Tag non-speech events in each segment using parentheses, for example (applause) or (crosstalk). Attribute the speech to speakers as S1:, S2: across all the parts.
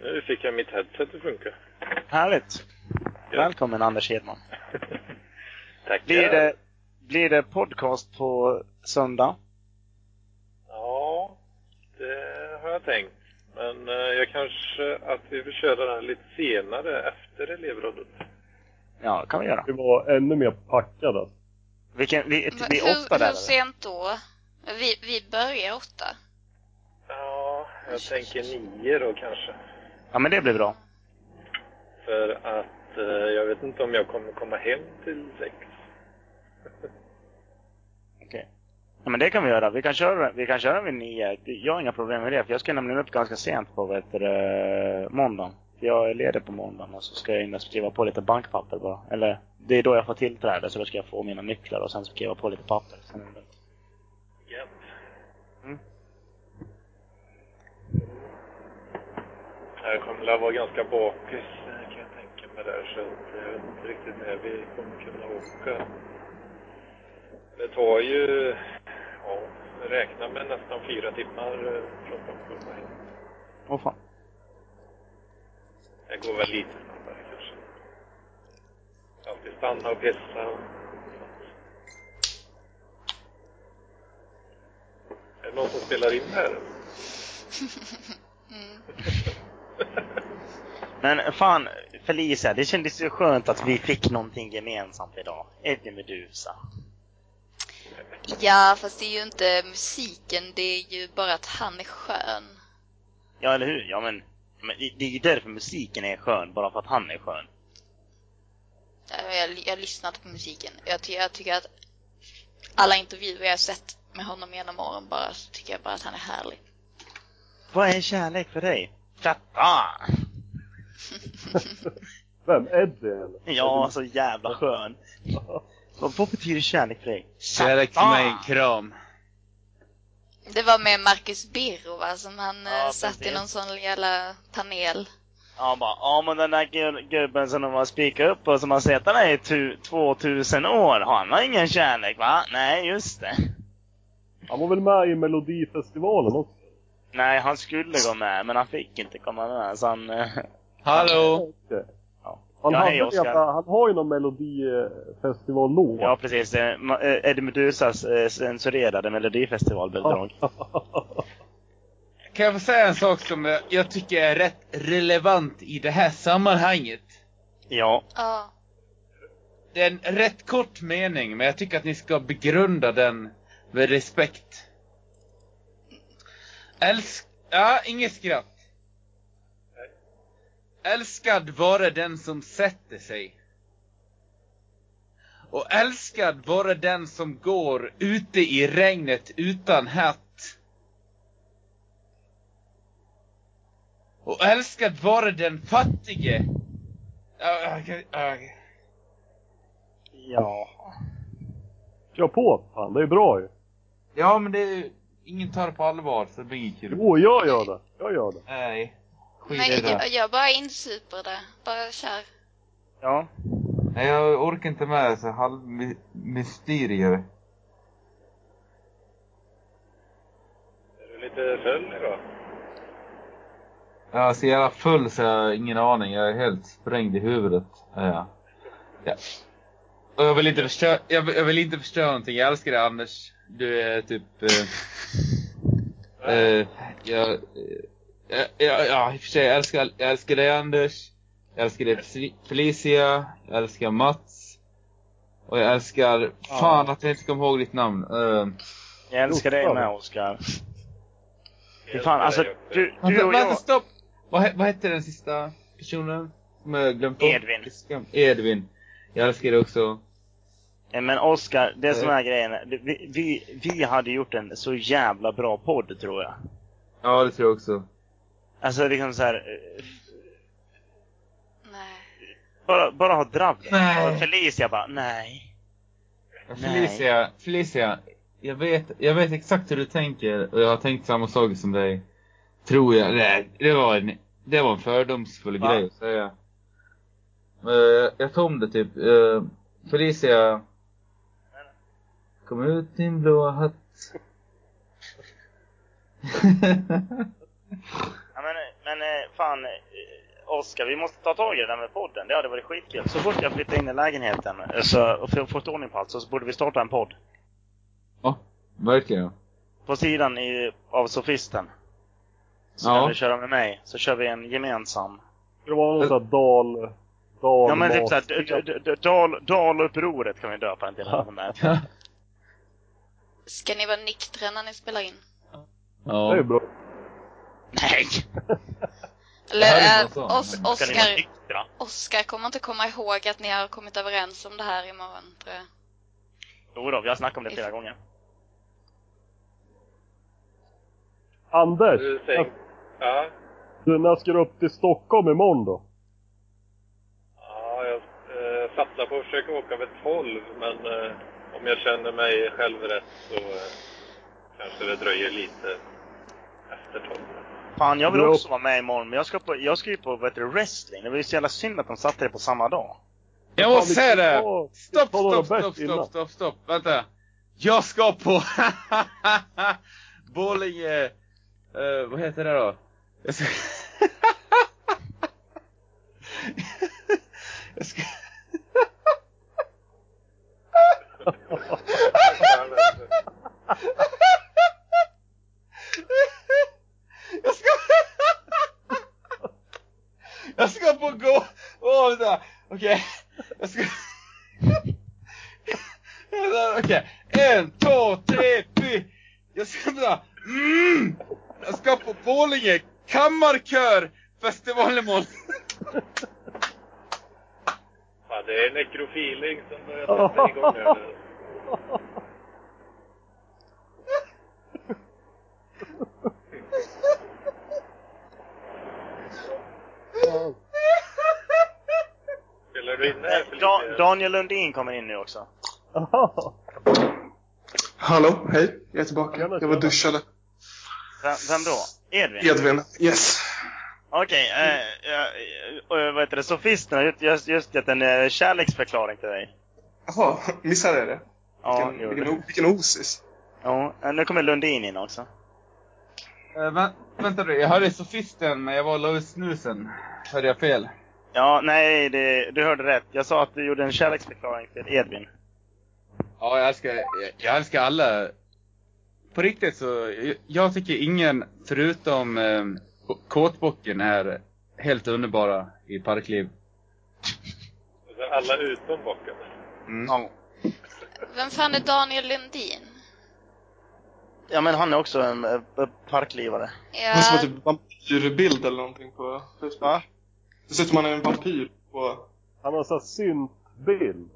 S1: Nu fick jag mitt headset att funka.
S2: Härligt.
S1: Ja.
S2: Välkommen Anders Hedman.
S1: Tackar.
S2: Blir det, blir det podcast på söndag?
S1: Ja, det har jag tänkt. Men eh, jag kanske att vi får köra den lite senare efter elevrådet.
S2: Ja, det kan vi göra.
S3: Vi var ännu mer packade.
S2: Vilken, vi,
S4: Men
S2: vi är
S4: hur,
S2: åtta där.
S4: hur
S2: eller?
S4: sent då? Vi, vi börjar åtta.
S1: Ja, jag tänker nio då kanske.
S2: Ja, men det blir bra.
S1: För att eh, jag vet inte om jag kommer komma hem till sex.
S2: Ja, men det kan vi göra. Vi kan köra, vi kan köra vid nio. Det- Jag har inga problem med det, för jag ska nämligen upp ganska sent på vet, du, eh, måndagen. För Jag är ledig på måndagen och så ska jag in och skriva på lite bankpapper bara. Eller, det är då jag får tillträde, så då ska jag få mina nycklar och sen skriva på lite papper. Sen är det lugnt.
S1: Gött.
S2: Mm.
S1: Jag kommer väl vara ganska bakis eh, kan jag tänka mig där så att eh, jag vet inte riktigt när vi kommer kunna åka. Det tar ju, ja, räkna med nästan fyra timmar eh, från Stockholm och hit.
S2: Åh fan.
S1: Det går väl lite snabbare kanske. Alltid stanna och pissa och Är det någon som spelar in här?
S2: Men fan, Felicia, det kändes ju skönt att vi fick någonting gemensamt idag. Eddie Meduza.
S4: Ja, fast det är ju inte musiken, det är ju bara att han är skön.
S2: Ja, eller hur? Ja, men, men det- det är ju därför musiken är skön, bara för att han är skön.
S4: Jag, jag, jag har lyssnat på musiken. Jag, ty, jag tycker att alla intervjuer jag har sett med honom genom åren bara, så tycker jag bara att han är härlig.
S2: Vad är kärlek för dig? Fatta!
S3: Vem? Eddie eller?
S2: Ja, så jävla skön. Vad, vad betyder kärlek för dig?
S5: Kärlek till mig, kram.
S4: Det var med Marcus Birro va, som han
S2: Ja,
S4: eh, satt i
S2: precis.
S4: någon sån jävla panel.
S2: Ja, bara, ja men den där gu- gubben som de har spikat upp och som har sett där i tu- 2000 år, han har ingen kärlek va? Nej, just det.
S3: Han var väl med i Melodifestivalen också?
S2: Nej, han skulle gå med, men han fick inte komma med så han... eh,
S5: Hallå!
S3: Okej.
S2: Ja.
S3: Han,
S2: Ja,
S3: hade
S2: hej,
S3: en
S2: Oscar.
S3: jävla, han har ju någon Melodifestivallåt.
S2: Ja, precis. eh, Ma- eh, Eddie Meduzas eh, censurerade melodifestivalbidrag.
S5: Kan jag få säga en sak som jag- jag tycker är rätt relevant i det här sammanhanget?
S2: Ja.
S4: Ja,
S5: Det är en rätt kort mening, men jag tycker att ni ska begrunda den med respekt. Älsk... Ja, inget skratt. Älskad vare den som sätter sig. Och älskad vare den som går ute i regnet utan hatt. Och älskad vare den fattige. Ja, okej, okej.
S2: Ja.
S3: Kör på! Fan, det är bra ju.
S5: Ja, men det är ju... Ingen tar det på allvar, så det blir inget kul.
S3: Jo, jag gör det. Jag gör det.
S5: Nej. Skit
S4: men
S5: i det.
S4: jag, jag bara insuper det. Bara kör.
S2: Ja.
S5: Nej, jag orkar inte med så halv my- mysterier.
S1: Är du lite full idag?
S5: Jag är så jävla full så jag har ingen aning. Jag är helt sprängd i huvudet. är jag. Ja. Och jag vill inte förstöra, jag vill, jag vill inte förstöra någonting. Jag älskar dig Anders. Du är typ... Eh, eh, jag, eh, ja, ja, i och för sig. Jag älskar, jag älskar dig Anders. Jag älskar dig Fel- Felicia. Jag älskar Mats. Och jag älskar... Fan att jag inte kom ihåg ditt namn. Eh,
S2: Jag älskar dig med, Oskar. Fy fan, alltså du, du
S5: vänta,
S2: och
S5: vänta,
S2: jag...
S5: stopp! Vad, he- vad hette den sista personen? Som jag glömt bort?
S2: Edvin.
S5: Edvin. Jag älskar dig också.
S2: Eh, Men Oskar, det som
S5: Eh.
S2: är grejen, är- vi, vi, vi hade gjort en så jävla bra podd tror jag.
S5: Ja, det tror jag också.
S2: Alltså liksom så här, eh,
S4: Nej.
S2: bara, bara ha drabbet.
S5: Nej.
S2: Och Felicia bara, nej.
S5: Felicia, Felicia. Jag vet, jag vet exakt hur du tänker och jag har tänkt samma sak som dig. Tror jag. Nej, det var en, det var en fördomsfull
S2: Va?
S5: grej att säga. Eh, jag tar om det typ. Eh, Felicia. Kom ut din blåa hatt. (laughs)
S2: Ja, men, eh, men eh, fan, eh, Oskar, vi måste ta tag i det där med podden. Det hade varit skitkul. Så fort jag flyttar in i lägenheten eh, så, och får- fått ordning på allt så borde vi starta en podd.
S5: Ja, verkligen.
S2: På sidan i, av Sofisten. Så
S5: Ja.
S2: kan du köra med mig. Så kör vi en gemensam.
S3: Ska det vara någon sån här dal... dal
S2: Ja men typ såhär, d- d- d- d- dal, Dalupproret kan vi döpa en del av de
S5: (laughs)
S2: här.
S4: Ska ni vara nyktra när ni spelar in?
S3: Det är ju
S5: Ja.
S3: bra.
S2: Nej!
S5: Det
S4: Eller,
S5: här är
S4: eh,
S5: ju bra
S4: Os-
S5: sång.
S2: Ska ni vara
S4: Oscar,
S2: nyktra?
S4: Oscar kommer inte komma ihåg att ni har kommit överens om det här imorgon, tror jag.
S2: Jo då, vi har snackat om det flera gånger.
S3: Anders!
S1: Du tänk... Ja.
S3: Du, när ska du upp till Stockholm imorgon då?
S1: Ja, jag eh, satsar på att försöka åka vid 12, men eh, om jag känner mig själv rätt så eh, kanske det dröjer lite efter 12.
S2: Fan, jag vill
S3: Jo.
S2: också vara med imorgon, men jag ska, på, jag ska ju på vad heter det, wrestling. Det var ju så jävla synd att de satte det på samma dag.
S5: Jag måste säga det! Stopp,
S3: Ta några
S5: stopp, stopp,
S3: bärs innan.
S5: stopp, stopp, stopp, vänta. Jag ska på (laughs) Borlänge, eh, vad heter det då? Jag ska... (laughs) jag ska... (laughs) Jag ska... Jag ska på gå... Åh, vänta. Okej. Jag ska... (laughs) Vänta, Okej. En, två, tre, fy. Jag ska... Vänta. Mm! Jag ska på Borlänge kammarkör festival imorgon. (laughs)
S1: Ja, det är nekrofiling som börjar sätta igång här nu.
S3: Ja.
S1: Spelar du in det här
S2: Nej,
S1: för
S2: da,
S1: lite?
S2: Daniel Lundin kommer in nu också.
S3: Aha.
S6: Hallå, hej. Jag är tillbaka.
S3: Tjena,
S6: jag var
S3: tjena.
S6: duschade.
S2: Vem, vem då? Edvin?
S6: Edvin. Yes.
S2: Okej, eh, eh, eh, vad heter det, sofisterna har just, just gett en eh, kärleksförklaring till dig.
S6: Jaha, missade jag det?
S2: Ja,
S6: vilken,
S2: jo.
S6: vilken, o- vilken osis.
S2: ja, eh, nu kommer Lundin in också.
S5: Eh, vänta du, jag hörde sofisten men jag var la snusen. Hörde jag fel?
S2: Ja, nej, det, du hörde rätt. Jag sa att du gjorde en kärleksförklaring till Edvin.
S5: Ja, jag älskar, jag, jag älskar alla. På riktigt så, jag, jag tycker ingen förutom eh, Kåtbocken är helt underbara i parkliv.
S1: Alltså, Alla utom bocken.
S5: Mm.
S2: Ja.
S4: Vem fan är Daniel Lundin?
S2: Ja, men han är också en eh, parklivare.
S6: Det är som
S4: Ja,
S6: en typ vampyrbild eller någonting på Facebook.
S2: Va?
S6: Det ser ut som man är en vampyr på...
S3: (laughs) Han har en sån här syntbild.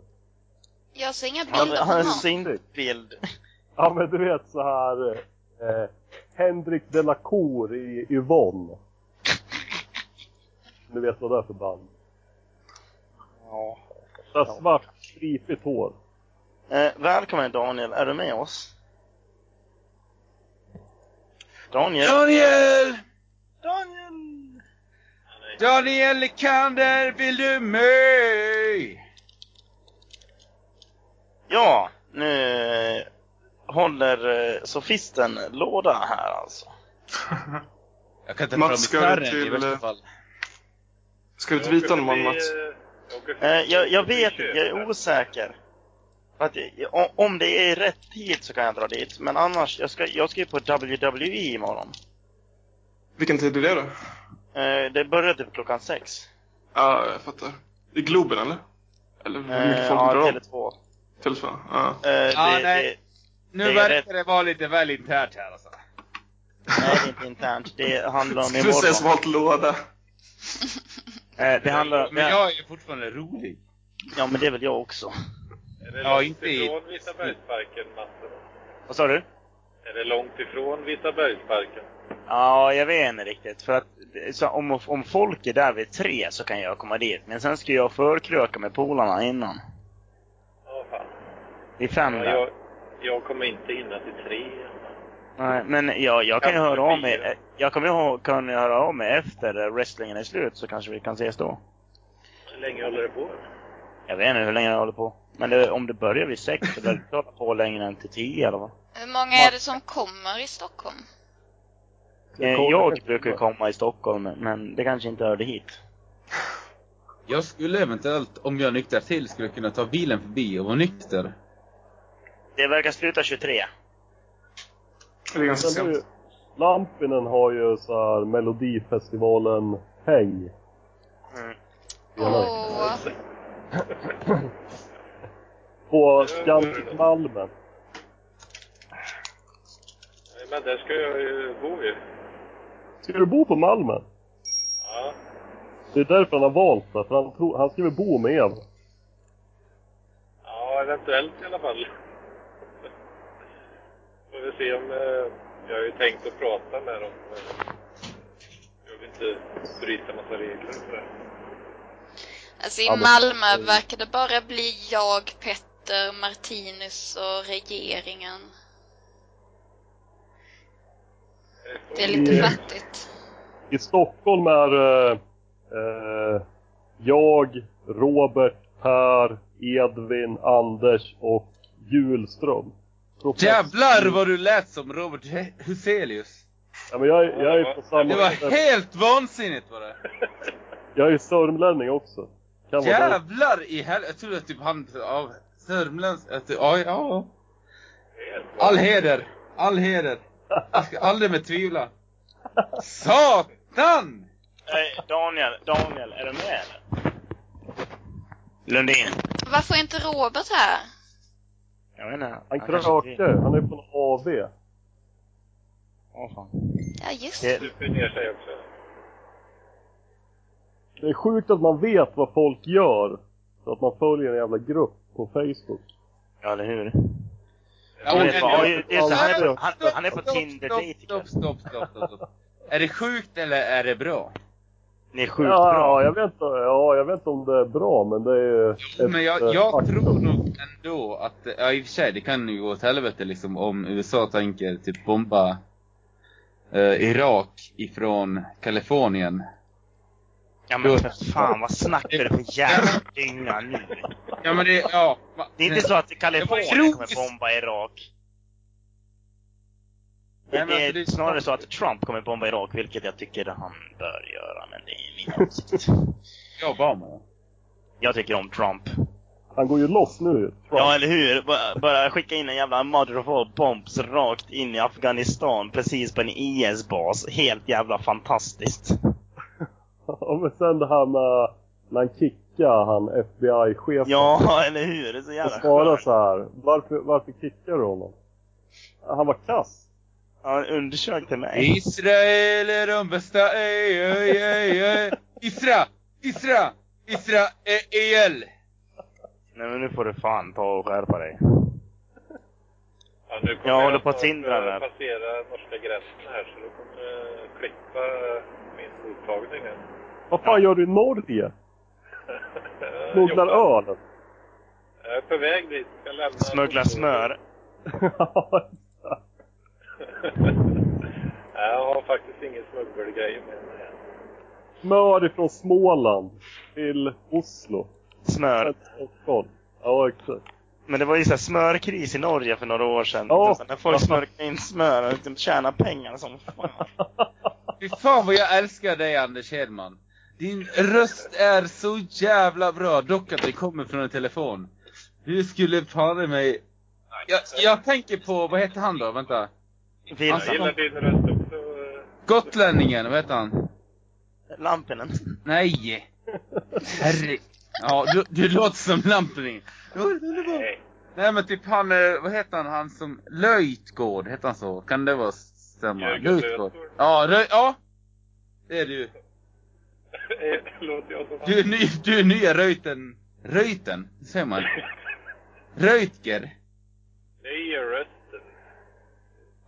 S4: jag ser inga
S2: Han,
S4: bilder på
S2: han är en
S4: honom.
S2: syntbild.
S3: (laughs) Ja men du vet så här eh, Henrik de la Cour i Yvonne. Du vet vad det är för band.
S2: Ja.
S3: Så här svart, stripigt hår.
S2: Eh, välkommen Daniel, är du med oss? Daniel?
S5: Daniel!
S2: Daniel!
S5: Daniel Lekander, vill du mig?
S2: Ja, nu eh, håller eh, sofisten låda här alltså.
S5: Jag kan ta
S6: Mats,
S5: fram
S6: ska du
S5: gitarren i
S6: till-
S5: värsta fall.
S6: Ska du till
S1: Jag
S6: Vita
S1: åker
S6: någon
S1: förbi,
S6: Mats?
S1: eh, jag åker förbi-
S2: Eh, jag, jag vet inte,
S1: förbi
S2: jag är
S1: köket.
S2: osäker. För att, jag- o- om det är rätt tid så kan jag dra dit, men annars, jag ska, jag ska ju på WWE imorgon.
S6: Vilken tid är det då?
S2: Eh, det börjar typ klockan sex.
S6: Ja, jag fattar. I Globen eller? Eller hur mycket
S2: Eh,
S6: folk
S2: ja,
S6: drar om?
S2: Tele2. Eh,
S6: Telefon? Ja.
S5: Ja,
S2: det,
S5: nej.
S2: Det,
S5: Nu
S2: Det är
S5: verkar
S2: rätt.
S5: det vara lite väl internt här alltså.
S2: nej, det är inte internt. Det
S6: (laughs)
S2: handlar om
S6: Skulle säga som
S2: imorgon.
S6: valt låda.
S2: Eh, det handlar om...
S5: Men jag är ju fortfarande rolig.
S2: Ja, men det är väl jag också.
S1: Är det
S5: Ja,
S1: långt
S5: inte i-
S1: ifrån Vitabergsparken, Matte?
S2: Vad sa du?
S1: Är det långt ifrån Vitabergsparken?
S2: Ja, jag vet inte riktigt. För att, så om, om folk är där vid tre så kan jag komma dit. Men sen ska jag förkröka med polarna innan.
S1: Ja, fan.
S2: Vid fem
S1: Ja,
S2: där.
S1: jag, jag kommer inte hinna till tre.
S2: Nej, men jag, jag kan ju
S1: Kanske
S2: höra av
S1: fyra.
S2: mig. Jag kommer ju ha- kan ju höra av mig efter eh, wrestlingen är slut så kanske vi kan ses då.
S1: Hur länge håller det på?
S2: Jag vet inte hur länge jag håller på. Men det, om det börjar vid sex så lär det inte hålla på längre än till tio eller vad?
S4: Hur många är det som kommer i Stockholm?
S2: Eh, Jag brukar ju komma i Stockholm, men det kanske inte hörde hit.
S5: Jag skulle eventuellt, om jag nykter till, skulle kunna ta bilen förbi och vara nykter.
S2: Det verkar sluta 23.
S6: Det är ganska
S3: Sen har ju-
S6: sent.
S3: Lampinen har ju så här Melodifestivalen-häng.
S2: Mm.
S4: Åh,
S2: Alltså.
S3: På Skandimalmen.
S1: Nej, Men där ska jag ju bo ju.
S3: Ska du bo på Malmen?
S1: Ja.
S3: Det är därför han har valt det, för han, tror, han ska väl bo med Eva.
S1: Ja, eventuellt i alla fall. (laughs) Får vi se om... eh, Jag har ju tänkt att prata med dem. men Jag vill inte bryta massa regler och sådär.
S4: alltså i
S5: Ja, men-
S4: Malmö verkar det bara bli jag, Petter, Martinus och regeringen. Det är lite
S3: Mm.
S4: fattigt.
S3: I Stockholm är eh, eh, jag, Robert, Per, Edvin, Anders och Julström. Professor-
S5: Jävlar vad du lät som Robert He- Huselius!
S3: Ja, men jag, är- jag är på samma
S5: Det var helt vansinnigt var det!
S3: Jag är sörmlänning också. Kan vara därför.
S5: Jävlar i helvete! Jag trodde att typ han av sörmländsk... att- Ja, ja. All heder! All heder! Jag ska aldrig mer tvivla. Satan!
S2: Eh, Daniel, Daniel, är du med eller? Lundin.
S4: Varför är inte Robert här?
S2: Jag vet inte.
S3: Han
S2: kanske inte-
S3: krökte, han är från AB.
S2: Åh, fan.
S4: Ja, just det.
S2: Det,
S1: Super ner sig också.
S3: Det är sjukt att man vet vad folk gör. Så att man följer en jävla grupp på Facebook.
S2: ja, eller hur?
S5: Ja, men-
S2: Det är bara- oj, det är så- han är på- han-
S5: Stopp,
S2: han är på
S5: stopp,
S2: Tinder liksom.
S5: stopp,
S2: date,
S5: Stopp, stopp, stopp, stopp, stopp. Är det sjukt eller är det bra?
S2: Ni är sjukt
S3: ja,
S2: bra.
S3: Jag vet, inte, ja, jag vet inte om det är bra, men det är ju... ett,
S5: Men
S3: eh,
S5: jag, jag
S3: faktum.
S5: tror nog ändå att, ja i och för sig, det kan ju gå åt helvete liksom om USA tänker typ bomba eh, Irak ifrån Kalifornien.
S2: Ja, men för fan vad snackar du för jävla dynga nu?
S5: Ja men det, ja. va-
S2: Det är inte så att Kalifornien kommer bomba Irak. Det
S5: Nej, men alltså,
S2: är
S5: det är-
S2: snarare så att Trump kommer bomba Irak, vilket jag tycker han bör göra, men det är min åsikt.
S5: Ja, Obama ja.
S2: Jag tycker om Trump.
S3: Han går ju loss nu ju.
S2: Ja, eller hur? B- Bara skicka in en jävla mother of all bombs rakt in i Afghanistan, precis på en IS-bas. Helt jävla fantastiskt.
S3: Ja, men sen det här med när han kickar han FBI-chefen.
S2: Ja, eller hur? Det är så
S3: och
S2: jävla
S3: svarar
S2: skönt.
S3: så här. Varför, varför kickar du honom? Han var kass.
S2: Han undersökte mig.
S5: Israel är de bästa, ej, ej, ej, ej. Isra! Isra! E Israel!
S2: Nej, men nu får du fan ta och skärpa dig.
S1: Ja, nu kommer
S2: Jag håller på
S1: snart,
S2: att tindra
S1: eh,
S2: där.
S1: passera norska gränsen här så då kommer det klippa min mottagning här.
S3: Vad fan gör du i
S1: Jag
S3: Norge? Smugglar
S1: jobbar.
S3: öl? (laughs)
S1: Jag är på väg dit. Ska lämna
S2: Smuggla smör.
S1: Nej, (laughs) jag har faktiskt ingen smuggelgrej med mig än.
S3: Smör ifrån Småland till Oslo. Sen
S2: Smör.
S3: till Stockholm. Ja, exakt.
S2: Men det var ju så här smörkris i Norge för några år sedan.
S3: Ja.
S2: Oh. När folk smörkade in smör och liksom tjänade pengar som fan.
S5: Fy fan vad jag älskar dig Anders Hedman. Din röst är så jävla bra, dock att det kommer från en telefon. Du skulle fan i mig... Jag, jag tänker på, vad heter han då? Vänta.
S1: Jag
S2: Vilsa.
S1: gillar din röst också. eh,
S5: Gotlänningen, vad heter han?
S2: Lampinen.
S5: Nej! Herre... Ja, du, du låter som Lampning. Det var helt underbart.
S1: Nej. (laughs)
S5: Nej men typ han, eh, vad heter han, han som... Löjtgård, heter han så? Kan det vara stämma?
S1: Jörgen
S5: Löjtgård.
S1: Löjtgård.
S5: Ja, rö... ja! Det är du.
S1: eh, Låter jag som
S5: Du är, ny, du är nya Röjten. Röjten? Hur säger man? Röjtger?
S1: Det är ju rösten.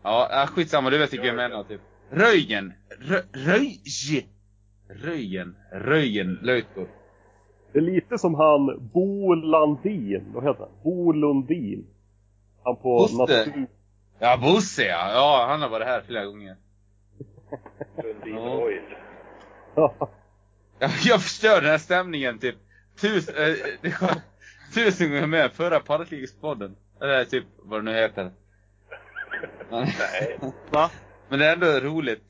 S5: Ja, äh, skitsamma, du vet vilken jag menar typ. Röjgen! Rö, röj... Röjgen. Röjgen Löjtgård.
S3: Det är lite som han Bo Landin. Vad heter han? Bo Lundin. Han på
S5: Just det.
S3: natur...
S5: Ja, Bosse ja. Ja, han har varit här flera gånger.
S1: Lundin
S5: Ja.
S1: Oil.
S5: Jag, (laughs) jag förstör den här stämningen typ. Tus, eh, det var, tusen gånger med förra Paralympics-podden. Eller typ vad det nu heter. Men-
S1: Nej.
S2: Va?
S5: Men det är ändå roligt.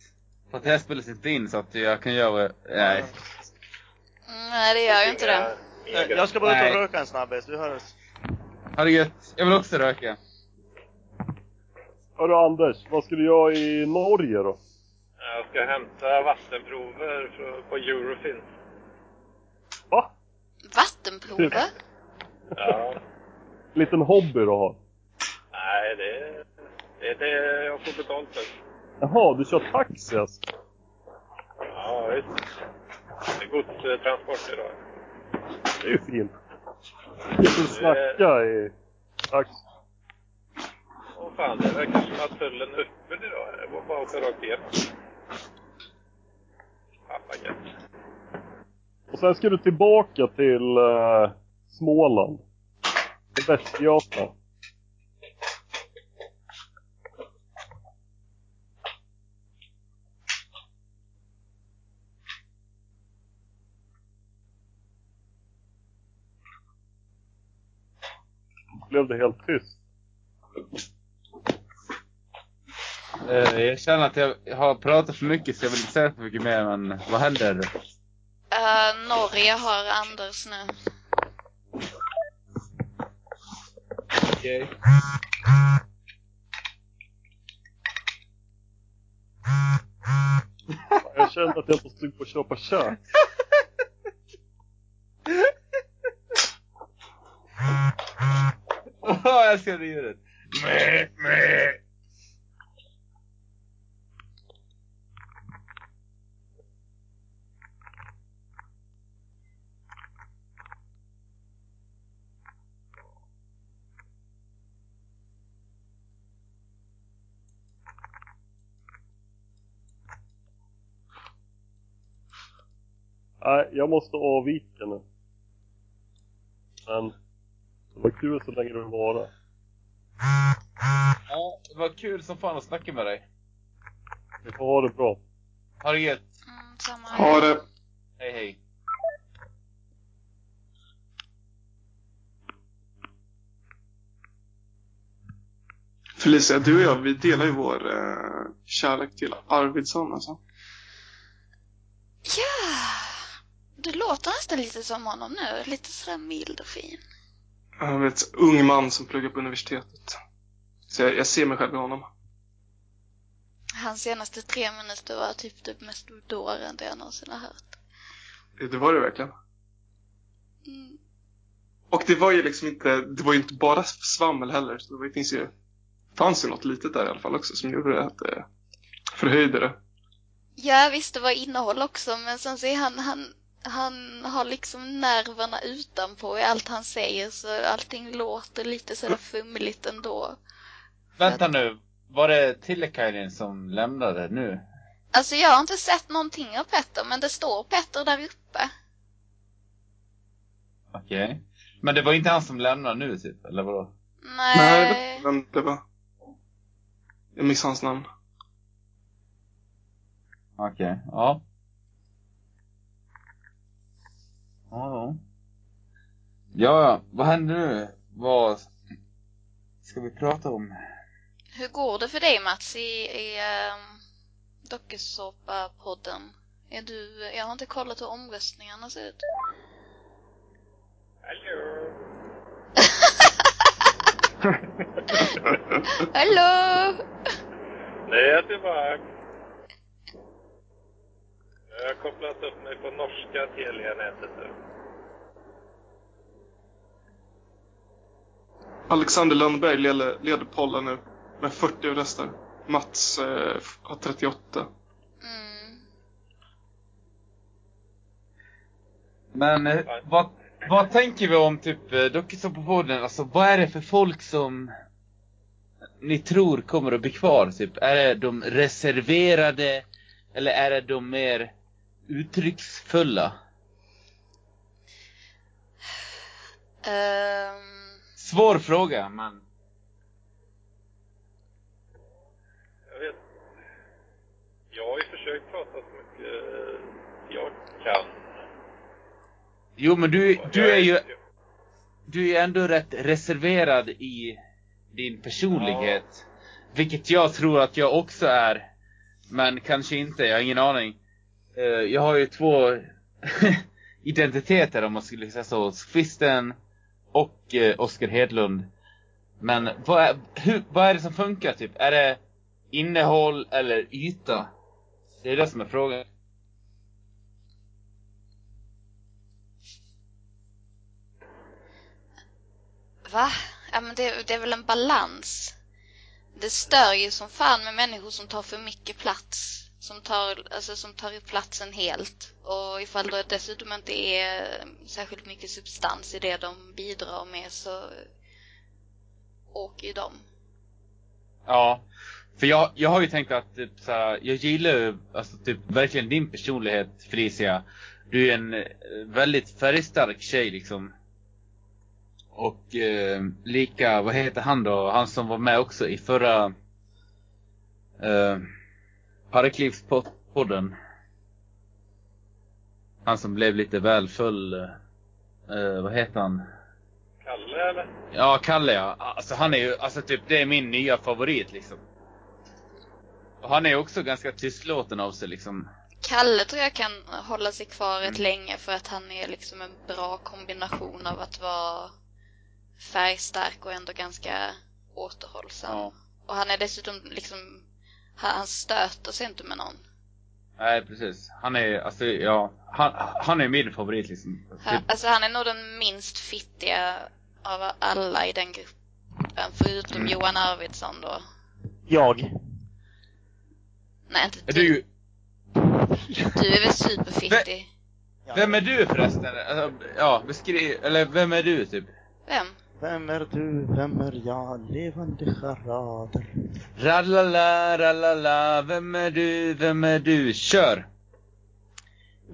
S5: För att det här spelas inte in så att jag kan göra... Nej.
S4: Mm, nej, det gör ju inte det.
S2: Eh, Jag ska bara ut och
S5: Nej.
S2: röka en snabbis, vi hörs.
S5: Ha det gött. Jag vill också röka.
S3: (laughs) Hörru Anders, vad skulle jag i Norge då?
S1: Jag ska hämta vattenprover från- på Eurofin.
S3: Va?
S4: Vattenprover?
S1: Ja.
S3: Liten hobby du har.
S1: Nej, det, det är det jag får betalt för.
S3: Jaha, du kör taxi alltså?
S1: Ja, visst. Det är godstransport idag.
S3: Det är ju fint. Du snacka i taxi.
S1: Åh fan, det verkar som att tullen är öppen idag. Det var bara att åka rakt igenom. Fan vad gött.
S3: Och sen ska du tillbaka till eh, Småland. Till Västergötland. Blev det helt tyst?
S5: Eh, Jag känner att jag har pratat för mycket så jag vill inte säga för mycket mer men vad händer?
S4: Eh, Norge har Anders nu.
S5: Okej.
S3: Jag kände att jag var sugen på att köpa kök.
S5: Åh, jag älskar det ljudet. Meh, meh.
S3: Nej, jag måste avvika nu. Men det var kul så länge du var där.
S5: Ja, det var kul som fan att snacka med dig.
S3: Vi får ha det bra.
S5: Ha det gött.
S4: Mm, samma här.
S6: Ha det.
S5: Hej hej.
S6: Felicia, du och jag, vi delar ju vår eh, kärlek till Arvidsson alltså.
S4: Ja! Du låter nästan lite som honom nu. Lite sådär mild och fin.
S6: Han är ett ung man som pluggar på universitetet. Så jag, jag ser mig själv i honom.
S4: Hans senaste tre minuter var typ det mest dårande jag någonsin har hört.
S6: Det var det verkligen.
S4: Mm.
S6: Och det var ju liksom inte, det var ju inte bara svammel heller. Så det finns ju, fanns ju något litet där i alla fall också som gjorde det att det förhöjde det.
S4: Ja visst, det var innehåll också, men sen ser han, han, han har liksom nerverna utanpå i allt han säger, så allting låter lite sådär fumligt ändå.
S5: Vänta nu. Var det Tillekainen som lämnade nu?
S4: Alltså jag har inte sett någonting av Petter, men det står Petter där uppe.
S5: Okej. Men det var inte han som lämnade nu typ, eller vadå?
S4: Nej.
S6: Nej, jag vet inte vem det var. Jag missade hans namn.
S5: Okej, ja. Ja, ja. Ja, ja. Vad händer nu? Vad ska vi prata om?
S4: Hur går det för dig Mats i, i um, dokusåpa-podden? Är du, jag har inte kollat hur omröstningarna ser ut.
S1: Hallå!
S4: Hallå!
S1: Nej, jag är tillbaka. Jag har kopplat upp mig på norska Telia-nätet nu.
S6: Alexander Lundberg leder, leder pollen nu med 40 röster. Mats eh, har 38.
S4: Mm.
S5: Men eh, vad, vad tänker vi om typ eh, dokusåpapodden? Alltså vad är det för folk som ni tror kommer att bli kvar? Typ? Är det de reserverade? Eller är det de mer uttrycksfulla?
S4: Ehm,
S5: Svår fråga, men
S1: Jag vet. Jag har ju försökt prata så mycket eh, jag kan.
S5: Jo men du, du är ju
S1: Jag
S5: du är ändå rätt reserverad i din personlighet. Vilket jag tror att jag också är. Men kanske inte, jag har ingen aning. Eh, jag har ju två (laughs) identiteter om man skulle säga så. Kvisten och eh, Oskar Hedlund. Men vad är, hur, vad är det som funkar typ? Är det innehåll eller yta? Det är det som är frågan.
S4: Va? Ja, men det, det är väl en balans? Det stör ju som fan med människor som tar för mycket plats. Som tar, alltså, som tar upp platsen helt. Och ifall det dessutom inte är särskilt mycket substans i det de bidrar med så åker ju de.
S5: Ja. För jag, jag har ju tänkt att typ, så här, jag gillar ju alltså, typ, verkligen din personlighet Felicia. Du är en eh, väldigt färgstark tjej liksom. Och eh, lika, vad heter han då? Han som var med också i förra eh, Parklivspodden. Han som blev lite väl full. Eh, vad heter han?
S1: Kalle eller?
S5: Ja, Kalle ja. Alltså han är ju, alltså typ det är min nya favorit liksom. Och han är ju också ganska tystlåten av sig liksom.
S4: Kalle tror jag kan hålla sig kvar
S5: Mm.
S4: rätt länge för att han är liksom en bra kombination av att vara färgstark och ändå ganska återhållsam.
S5: Ja.
S4: Och han är dessutom liksom, han han stöter sig inte med någon.
S5: Nej precis. Han är, alltså ja. Han, han är min favorit liksom.
S4: Han,
S5: Typ,
S4: alltså han är nog den minst fittiga av alla i den gruppen, förutom
S5: Mm.
S4: Johan Arvidsson då.
S2: Jag.
S4: Nej, inte
S5: är
S4: du.
S5: du,
S4: Du är väl superfittig?
S5: vem är du förresten? Alltså, ja, beskriv, eller vem är du typ?
S4: Vem?
S2: Vem är du? Vem är jag? Levande charader.
S5: Rallala, rallala, vem är du, vem är du? Kör!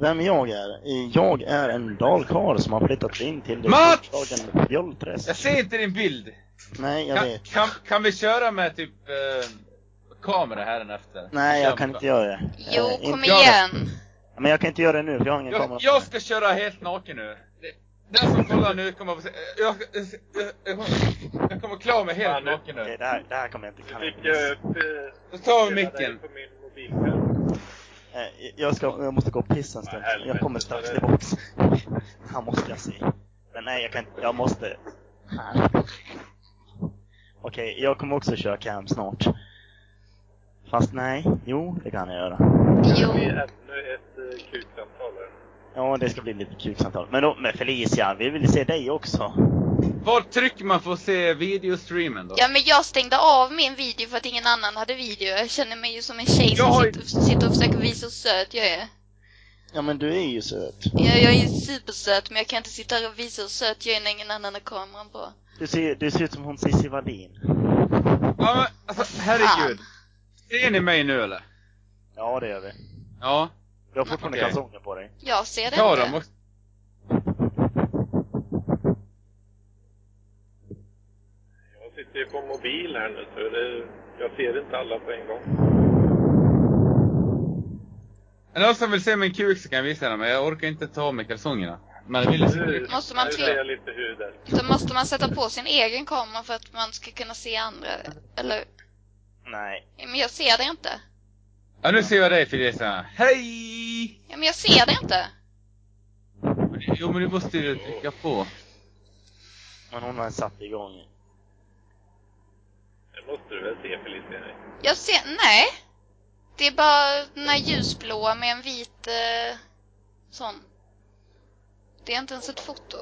S2: Vem jag är? Jag är en dalkarl som har flyttat in till det
S5: Mats!
S2: storslagen
S5: Jag
S2: Fjollträsk.
S5: ser inte din bild!
S2: Nej, jag
S5: Kan,
S2: vet.
S5: kan, kan vi köra med typ eh, kamera här efter?
S2: Nej,
S5: Kör
S2: jag kan
S5: med-
S2: inte göra det.
S4: Jo,
S2: Eh,
S4: kom
S2: inte-
S5: jag då.
S4: igen!
S2: Men jag kan inte göra det nu, för jag har ingen kamera.
S5: Jag, jag ska köra helt naken nu. Det- Den som kollar nu kommer att få se... Jag, jag, jag, jag, kommer- jag kommer klara mig helt
S1: Fan, nu-
S5: naken
S2: Okej,
S5: nu.
S2: det, här, det här kommer jag inte
S1: Du
S2: kunna.
S1: fick jag upp... eh,
S5: Då tar vi
S1: hela dig
S5: micken.
S1: på min mobilskärm.
S2: Eh, Jag, ska, jag måste gå och pissa en stund.
S1: Nej, helvete.
S2: Jag kommer strax tillbaks. (laughs) Han måste jag se. Men nej, jag kan inte. Jag måste. Här. Okej, jag kommer också köra cam snart. Fast nej, jo, det kan jag göra.
S5: Eh,
S1: Det
S4: Jo,
S1: är ännu ett eh, kuksamtal här.
S2: Ja, det ska bli lite kuksamtal. Men då, men Felicia, vi vill se dig också.
S5: Var trycker man för att se videostreamen då?
S4: ja men jag stängde av min video för att ingen annan hade video. Jag känner mig ju som en tjej
S5: Jag
S4: som
S5: har ju-
S4: sitter, sitter och försöker visa hur söt jag är.
S2: Ja, men du är ju söt.
S4: Jag, jag är ju supersöt men jag kan inte sitta här och visa hur söt jag är när ingen annan har kameran på.
S2: Du ser, du ser ut som hon Cissi Wallin.
S5: Ja, men, alltså, herregud. Ser ni mig nu eller?
S2: Ja, det gör vi.
S5: Ja.
S2: Du har fortfarande
S5: Okej.
S2: kalsonger på dig.
S4: Jag ser det
S5: Ta
S4: inte.
S5: dem också.
S1: Jag sitter ju på mobil här nu så det, jag ser inte alla på en gång.
S5: Är det någon som vill se min kuk så kan jag visa den, men jag orkar inte ta av mig kalsongerna. Men vill
S1: Nu-
S5: du
S4: Måste man
S1: nu
S4: trycka-
S1: ser jag lite hud där.
S4: Då måste man sätta på sin egen kamera för att man ska kunna se andra. Eller?
S2: Nej.
S4: Ja, Men jag ser det inte.
S5: Ja, nu ser jag dig Felicia. Hej!
S4: Ja, men jag ser det inte.
S5: Jo, men du måste ju trycka på.
S2: Men hon har satt igång.
S1: Det måste du väl se Felicia?
S4: Jag ser, nej. Det är bara den här ljusblåa med en vit eh, sån. Det är inte ens ett foto.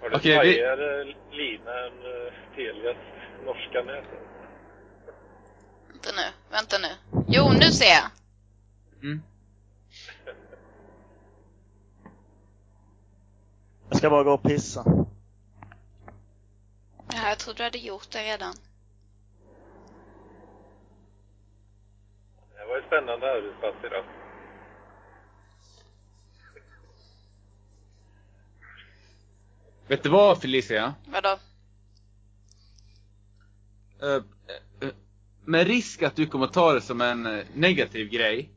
S1: Har du
S5: Okej,
S1: okay,
S5: vi-
S1: svajigare lina än eh, Telias norska nät?
S4: Vänta nu, vänta nu. Jo, nu ser jag.
S5: Mm.
S2: Jag ska bara gå och pissa.
S4: Ja, jag trodde du hade gjort det redan.
S1: Det var en spännande arbetsplats idag.
S5: Vet du vad Felicia?
S4: Vadå?
S5: Eh, eh, eh, med risk att du kommer ta det som en eh, negativ grej.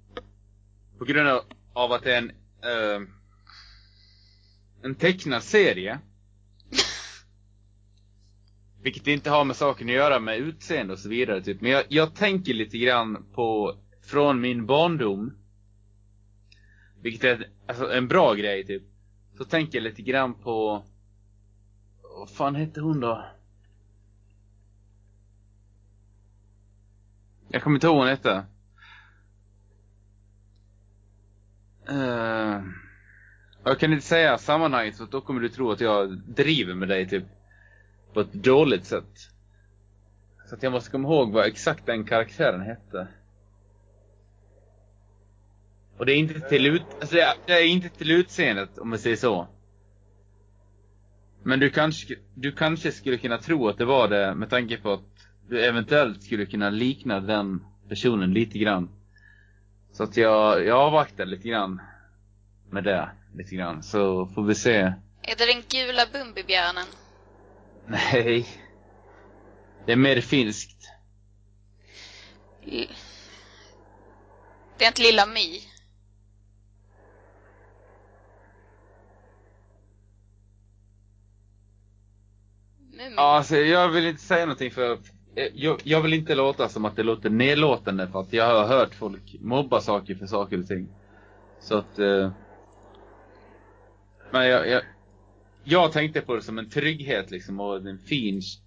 S5: På grund av- av att det är en, eh, en tecknad serie. Vilket inte har med saken att göra med utseende och så vidare. Typ. Men jag, jag tänker lite grann på från min barndom. Vilket är ett- alltså, en bra grej typ. Så tänker jag lite grann på... Vad fan hette hon då? Jag kommer inte ihåg vad hon hette. Eh, jag kan inte säga sammanhanget för då kommer du tro att jag driver med dig typ på ett dåligt sätt. Så att jag måste komma ihåg vad exakt den karaktären hette. Och det är inte till, ut, alltså det är, det är inte till utseendet om man säger så. Men du kanske, du kanske skulle kunna tro att det var det med tanke på att du eventuellt skulle kunna likna den personen lite grann. Så att jag, jag avvaktar lite grann med det. Lite grann. Så får vi se. (laughs)
S4: Är det den gula Bumbibjörnen?
S5: Nej. Det är mer finskt.
S4: L- Det är inte Lilla My? Mumin?
S5: Ja, Alltså, jag vill inte säga någonting för eh, jag, jag vill inte låta som att det låter nedlåtande för att jag har hört folk mobba saker för saker och ting. Så att... Eh, men jag, jag, jag tänkte på det som en trygghet liksom och en fin s-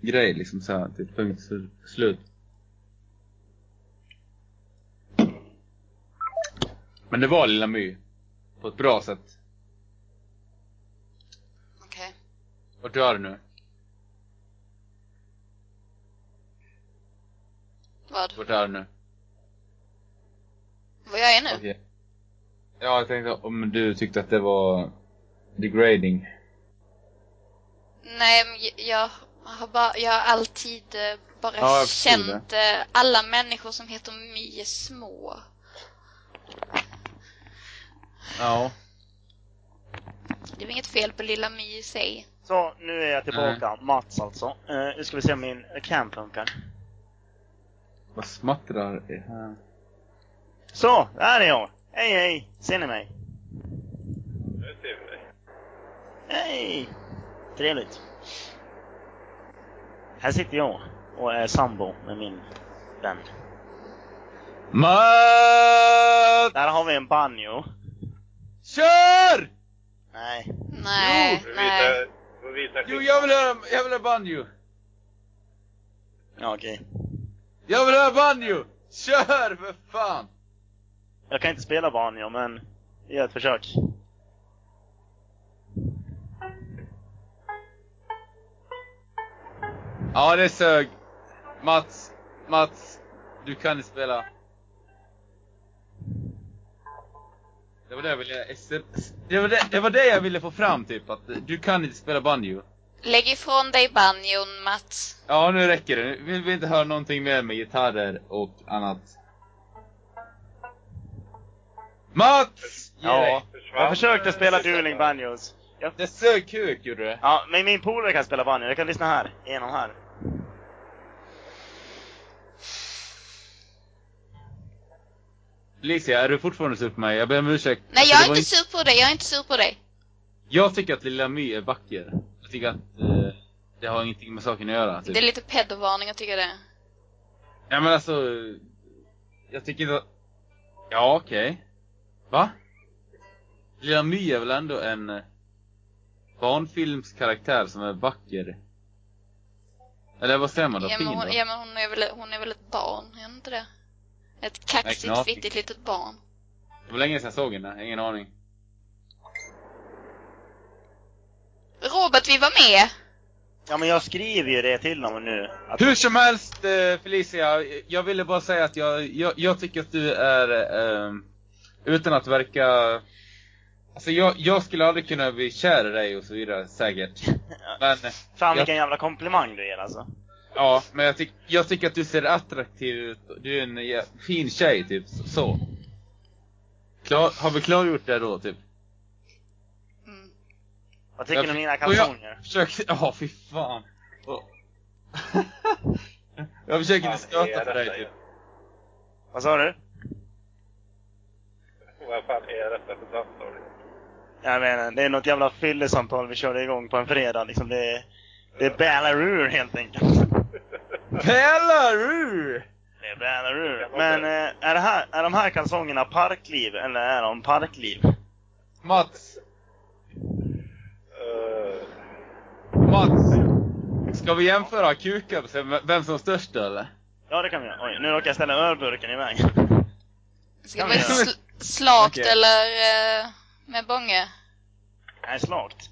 S5: grej liksom så här, till punkt sl- slut. Men det var Lilla My. På ett bra sätt.
S4: Okej.
S5: Och dör nu.
S4: Vad?
S5: Vart är du nu?
S4: Vad jag är (laughs) nu?
S5: Okej. Ja, jag tänkte om du tyckte att det var degrading.
S4: Nej, men j- jag har, bara, jag har alltid eh, bara
S5: Ja, jag förstod
S4: känt eh, alla människor som heter My är små.
S5: Ja.
S4: Det är inget fel på Lilla My i sig.
S2: Så, nu är jag tillbaka. Mats alltså. Eh, nu ska vi se om min cam funkar.
S5: Vad smattrar det här?
S2: Så, där är jag! Hej hej! Ser ni mig?
S1: Nu ser vi dig.
S2: Hej! Trevligt. Här sitter jag och är sambo med min vän.
S5: Matt!
S2: Där har vi en banjo.
S5: Kör!
S2: Nej.
S4: Nej,
S1: Får vi
S4: nej.
S1: vita- får vi vita
S5: Jo,
S1: skinn?
S5: jag vill höra, jag vill höra banjo!
S2: Ja, okej.
S5: Jag vill höra banjo! Kör för fan!
S2: Jag kan inte spela banjo, men vi gör ett försök.
S5: Ja, det sög. Mats, Mats, du kan spela. Det var det jag ville, det var det, det var det jag ville få fram typ, att du kan inte spela banjo.
S4: Lägg ifrån dig banjon, Mats.
S5: Ja, nu räcker det. Nu vill vi inte höra någonting mer med gitarrer och annat. Mats! Ge
S2: Ja.
S5: dig.
S1: Försvann.
S2: Jag försökte spela dueling banjos. Jag...
S5: Det sög kuk, gjorde det.
S2: Ja, men min polare kan spela banjo. Jag kan lyssna här. Genom här.
S5: Felicia, är du fortfarande sur på mig? Jag ber om ursäkt.
S4: Nej,
S5: Alltså,
S4: jag
S5: det
S4: är
S5: var
S4: inte sur på dig. Jag är inte sur på dig.
S5: Jag tycker att Lilla My är vacker. Jag tycker att eh, det har ingenting med saken att göra. Typ.
S4: Det är lite pedovarning att tycka det.
S5: Ja, men alltså... Jag tycker inte att... Ja, okej. Va? Lilla My är väl ändå en eh, barnfilmskaraktär som är vacker? Eller vad säger man då?
S4: Ja,
S5: fin
S4: men hon,
S5: då?
S4: ja, men hon, är, väl, hon är väl ett barn, är hon inte det? Ett
S5: Nej,
S4: kaxigt,
S5: knas.
S4: fittigt litet barn.
S5: Det var länge sedan jag såg henne, ingen aning.
S4: Robert, vi var med!
S2: Ja, men jag skriver ju det till dem nu. Att...
S5: Hur som helst eh, Felicia, jag ville bara säga att jag, jag, jag tycker att du är, eh, utan att verka... Alltså jag, jag skulle aldrig kunna bli kär i dig och så
S2: (laughs)
S5: vidare, säkert. Men, eh,
S2: Fan
S5: jag-
S2: vilken jävla komplimang du ger alltså.
S5: ja, men jag, tyck, jag tycker att du ser attraktiv ut. Du är en jä- fin tjej, typ. Så. Klar, har vi klargjort det då, typ?
S4: Mm.
S2: Vad tycker ni om mina
S5: och jag-
S2: kalsonger?
S5: Försök... Ja, fy fan. Och- jag försöker inte
S1: Fan, är
S5: stöta på
S1: detta
S5: dig, typ.
S2: Vad sa du?
S1: Vad fan är detta för samtal?
S2: Jag menar, det är något jävla fyllesamtal vi körde igång på en fredag. Liksom det, Det är Ballarur helt enkelt.
S5: Pellarur!
S2: Det är Ballarur. Men eh, är, det här, är de här kalsongerna parkliv eller är de parkliv?
S5: Mats,
S1: Eh,
S5: Mats! Ska vi jämföra kukar och se vem- vem som är störst eller?
S2: Ja, det kan vi göra. Oj, nu råkar jag ställa ölburken i vägen.
S4: Ska
S2: Ja,
S4: vi
S2: men-
S4: sl- slakt
S5: Okej.
S4: eller eh, med bånge?
S2: Nej, slakt.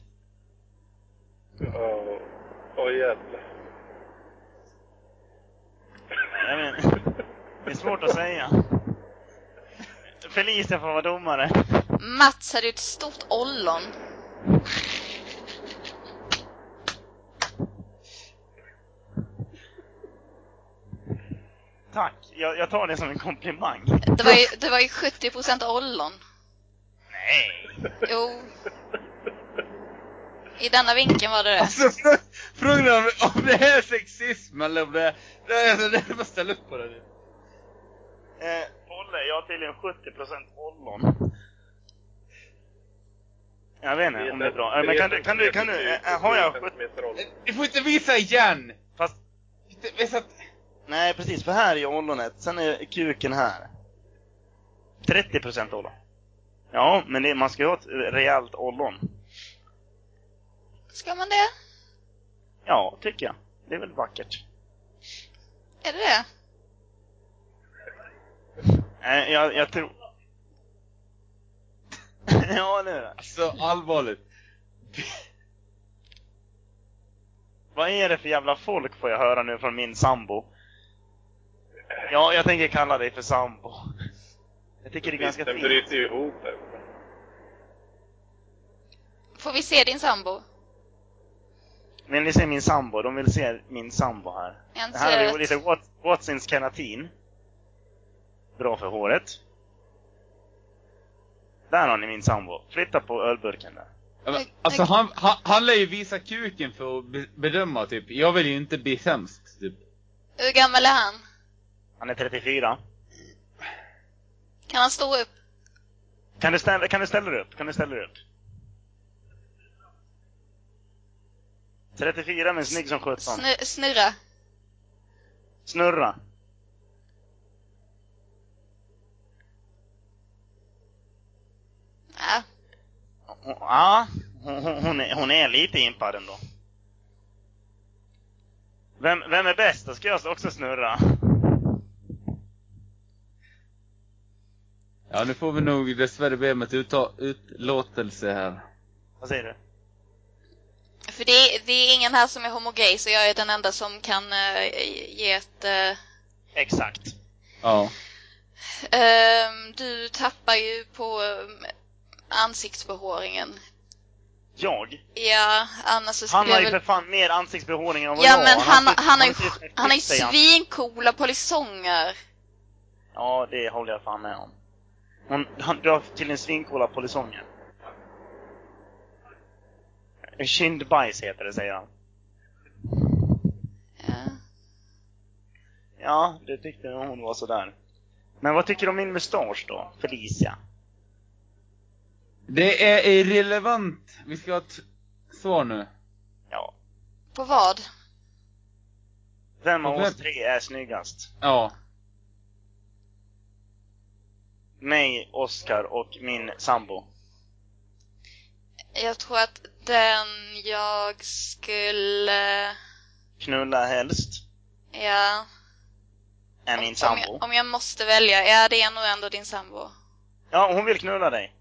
S1: Ja, oj jävlar.
S2: Jag vet, det är svårt att säga. Felicia får vara domare.
S4: Mats hade ju ett stort ollon.
S2: Tack. Jag, jag tar det som en komplimang.
S4: Det var ju, det var ju 70% ollon.
S2: Nej.
S4: Jo. I denna vinkeln var det det.
S5: Alltså frå- frågan är om- om det här är sexism eller om det är... det är- Alltså, det är bara att ställa upp på det nu.
S2: Eh, Olle, jag har tydligen 70% ollon. Jag vet inte om det är bra. Eh, Men kan du, kan du, kan du, eh, har jag 70?
S5: Eh, Du får inte visa igen!
S2: Fast,
S5: Inte Visa att...
S2: nej precis, för här är ju ollonet, sen är kuken här. 30% ollon. Ja, men det, man ska ju ha ett rejält ollon.
S4: Ska man det?
S2: Ja, tycker jag. Det är väl vackert.
S4: Är det det?
S2: Nej, Eh, jag, jag tror... (laughs) ja, nu då.
S5: Alltså allvarligt.
S2: Vad är det för jävla folk får jag höra nu från min sambo? Ja, jag tänker kalla dig för sambo. Jag tycker det är ganska
S1: Den
S2: fint.
S1: bryter ju ihop där.
S4: Får vi se din sambo?
S2: Vill ni se min sambo? De vill se min sambo här.
S4: Är han
S2: Här har
S4: söt?
S2: vi lite Wat- Watsins keratin. Bra för håret. Där har ni min sambo. Flytta på ölburken där.
S5: Ja, men, Alltså han, han, han lär ju visa kuken för att be- bedöma typ. Jag vill ju inte bli sämst typ.
S4: Hur gammal är han?
S2: Han är 34.
S4: Kan han stå upp?
S2: Kan du ställa, kan du ställa dig upp? Kan du ställa dig upp? 34 men snygg som sjutton.
S4: Snu- snurra?
S2: Snurra.
S4: Ja.
S2: Hon- Ja, hon, hon- hon, är, hon är lite impad ändå. Vem, vem är bäst? Då ska jag också snurra.
S5: Ja nu får vi nog dessvärre be om ett utta- utlåtelse här.
S2: Vad säger du?
S4: För det är, det är ingen här som är homogay så jag är den enda som kan eh, ge ett... eh,
S2: Exakt.
S5: Ja.
S4: ehm, du tappar ju på um, ansiktsbehåringen.
S2: Jag?
S4: Ja, annars så
S2: Han
S4: skulle
S2: har
S4: jag
S2: ju
S4: väl...
S2: för fan mer ansiktsbehåring än vad
S4: Ja
S2: jag
S4: men han,
S2: sitter-
S4: han, har ju,
S2: sitter med
S4: han har ju
S2: fitta i ans-
S4: svincoola polisonger.
S2: Ja, det håller jag fan med om. Hon, han, du har tydligen svincoola polisonger. Kindbajs heter det, säger han.
S4: Ja.
S2: Ja, det tyckte hon var sådär. Men vad tycker du om min mustasch då, Felicia?
S5: Det är irrelevant. Vi ska ha ett svar nu.
S2: Ja.
S4: På vad?
S2: Vem av
S5: Och vem-
S2: oss tre är snyggast?
S5: Ja.
S2: Mig, Oscar och min sambo.
S4: Jag tror att den jag skulle...
S2: Knulla helst,
S4: Ja.
S2: är
S4: Om-
S2: min
S4: Om
S2: sambo.
S4: jag, om jag måste välja, ja det är nog ändå din sambo.
S2: Ja, hon vill knulla dig.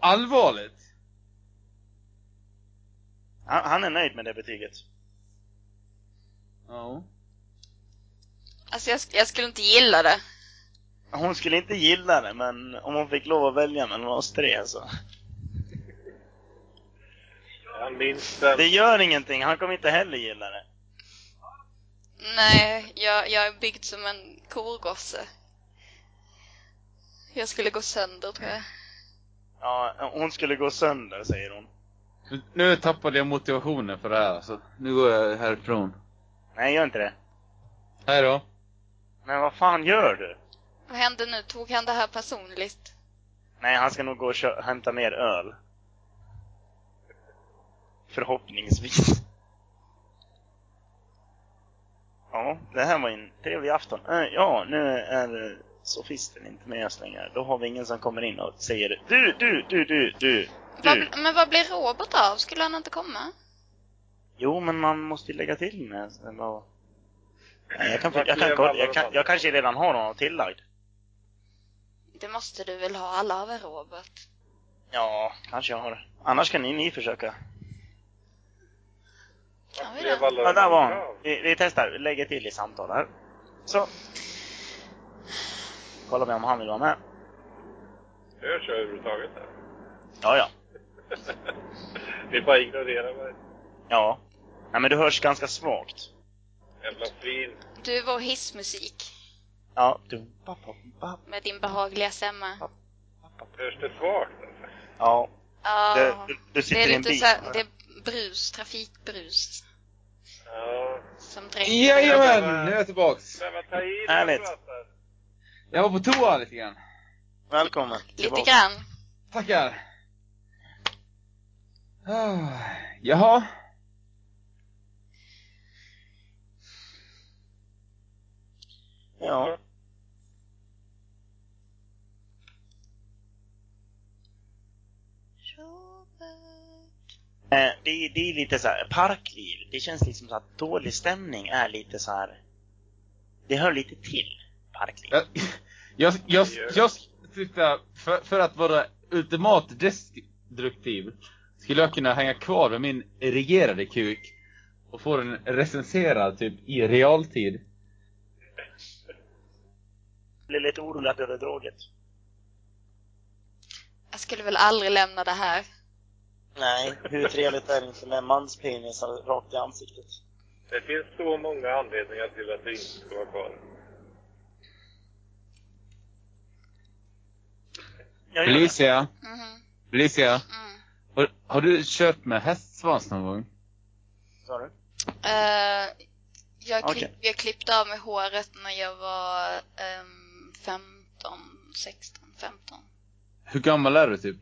S5: Allvarligt?
S2: Han, han är nöjd med det betyget.
S5: Ja.
S4: Alltså jag, sk- jag skulle inte gilla det.
S2: Hon skulle inte gilla det, men om hon fick lov att välja mellan oss tre så.
S1: Han minns den.
S2: Det gör ingenting, han kommer inte heller gilla det.
S4: Nej, jag, jag är byggd som en korgosse. Jag skulle gå sönder tror jag.
S2: Ja, hon skulle gå sönder, säger hon.
S5: Nu- Nu tappade jag motivationen för det här så nu går jag härifrån.
S2: Nej, gör inte det.
S5: Hej då.
S2: Men vad fan gör du?
S4: Vad hände nu? Tog han det här personligt?
S2: Nej, han ska nog gå och kö- hämta mer öl. Förhoppningsvis. Ja, det här var ju en trevlig afton. Eh, Ja, nu är eh, sofisten inte med oss längre. Då har vi ingen som kommer in och säger du, du, du, du, du,
S4: Vad,
S2: du.
S4: bl- men vad blir Robert av? Skulle han inte komma?
S2: Jo, men man måste ju lägga till med sen och... Nej, jag, kan,
S1: Vart
S2: jag, kan,
S1: lever
S2: kolla-
S1: alla
S2: jag,
S1: de
S2: kan,
S1: andra?
S2: jag kanske redan har honom tillagd.
S4: Det måste du väl ha alla av er, Robert?
S2: Ja, kanske jag har det. Annars kan ni, ni försöka.
S4: Kan vi
S1: Blev
S4: det?
S1: alla
S2: Ja, där var
S1: bra?
S2: han. Vi, vi testar. Vi Lägger till i samtal här. Så. Kollar vi om han vill vara med.
S1: Hörs jag överhuvudtaget? här?
S2: Ja, ja.
S1: Vi bara ignorerar varandra.
S2: Ja. Nej, men du hörs ganska svagt.
S1: Jävla svin.
S4: Du är vår hissmusik
S2: Ja. Du, ba, ba, ba,
S4: med din behagliga stämma.
S1: Hörs det svagt? alltså?
S2: ja.
S4: Ja,
S2: Du, du, du
S4: det
S2: sitter
S4: är
S2: i en
S4: lite
S2: bil.
S4: så här, det är brus, trafikbrus
S1: Ja.
S4: som dränker
S5: Jajamän! Nu är jag tillbaks!
S1: Men vad ta i när du
S2: Härligt.
S1: pratar.
S5: Jag var på toa lite grann.
S2: Välkommen.
S4: Lite
S2: tillbaka.
S4: grann.
S5: Tackar! Ah, Jaha.
S2: Ja. Eh, Det är, det är lite så här parkliv. Det känns liksom så att dålig stämning är lite så här. Det hör lite till parkliv.
S5: Jag, jag, jag, jag tyckte, för, för att vara ultimat destruktiv, skulle jag kunna hänga kvar med min regerade kuk och få den recenserad typ i realtid.
S2: Jag blir lite orolig att du hade dragit.
S4: Jag skulle väl aldrig lämna det här.
S2: Nej, hur trevligt är det inte med manspenisar rakt i ansiktet?
S1: Det finns så många anledningar till att det inte ska vara kvar.
S2: Jag gör det.
S5: Felicia,
S4: Mhm,
S5: Felicia,
S4: mm.
S5: har, har du kört med hästsvans någon gång?
S2: Sa du?
S4: Eh, jag,
S2: Okej.
S4: klipp, jag klippte av mig håret när jag var ehm, 15, 16, 15,
S5: Hur gammal är du typ?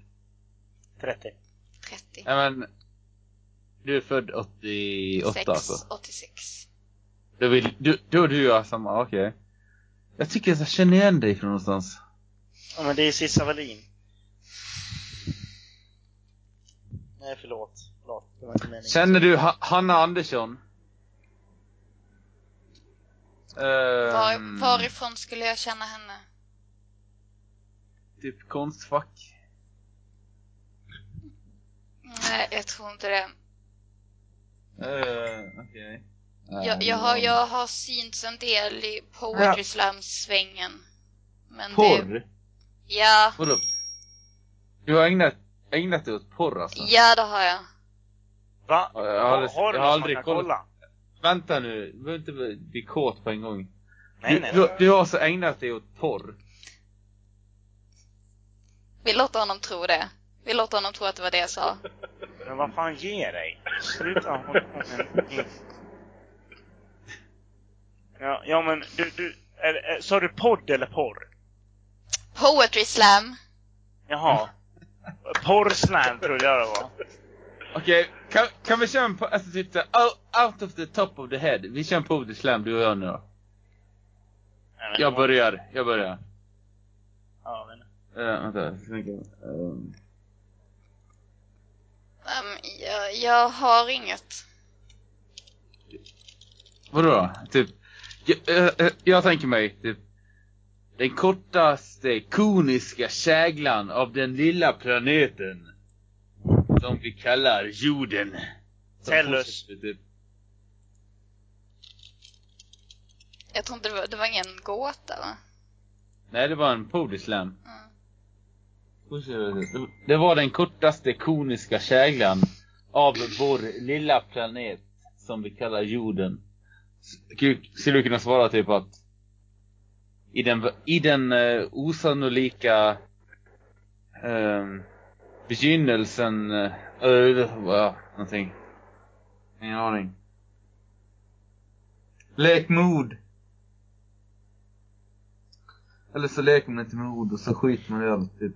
S2: 30.
S4: 30,
S5: Ja, men, du är född 88
S4: 6,
S5: alltså?
S4: 86.
S5: Då, vill, du, då är du och jag samma, okej. Jag tycker att jag känner igen dig från någonstans.
S2: Ja, men det är Sissa Wallin. Nej, förlåt. Förlåt, det var inte meningen.
S5: Känner du ha Hanna Andersson?
S4: Var,
S5: Ehm,
S4: varifrån skulle jag känna henne?
S5: Typ Konstfack.
S4: Nej, jag tror inte det.
S5: Uh, okej. Ehm,
S4: Jag, jag, har, jag har synts en del i poetry slam-svängen. Men det...
S5: Porr?
S4: Ja,
S5: Vadå? Du har ägnat, ägnat dig åt porr alltså?
S4: ja det har jag.
S2: Va?
S5: Ja, jag har aldrig-
S2: har du
S5: jag
S2: någon
S5: har
S2: som
S5: aldrig
S2: kan
S5: kollat.
S2: kolla?
S5: Vänta nu, du behöver inte bli kåt på en gång.
S2: Nej,
S5: du,
S2: nej.
S5: Du, du har alltså ägnat dig åt porr?
S4: Vi låter honom tro det. Vi låter honom tro att det var det jag sa.
S2: Men vad fan ger dig? Sluta hålla på med ja, ja, men du, du, är, är, sa du podd eller porr?
S4: Poetry slam!
S2: Jaha. Porrslam trodde jag det var.
S5: Okej, kan, kan vi köra en po- alltså typ såhär, out- out of the top of the head. Vi kör en poetry slam du och jag nu då.
S2: Nej, men-
S5: Jag börjar, jag börjar.
S2: Ja, men,
S5: Eh, vänta, jag ska tänka. Ehm,
S4: Ehm, jag, jag har inget.
S5: vadå då? Typ, jag, eh, eh, jag tänker mig typ den kortaste koniska käglan av den lilla planeten. Som vi kallar jorden. Som
S2: Tellus.
S5: fortsätter Typ.
S4: Jag tror inte det var, det var ingen gåta va?
S5: Nej, det var en poetry slam.
S4: Mm.
S5: Det var den kortaste koniska käglan av vår lilla planet som vi kallar jorden. Skulle- Skulle du kunna svara typ att i den, i den eh, osannolika ehm, begynnelsen, uh, uh, någonting. Ingen aning. Lek mod. Eller så leker man inte med ord och så skiter man i allt. Typ.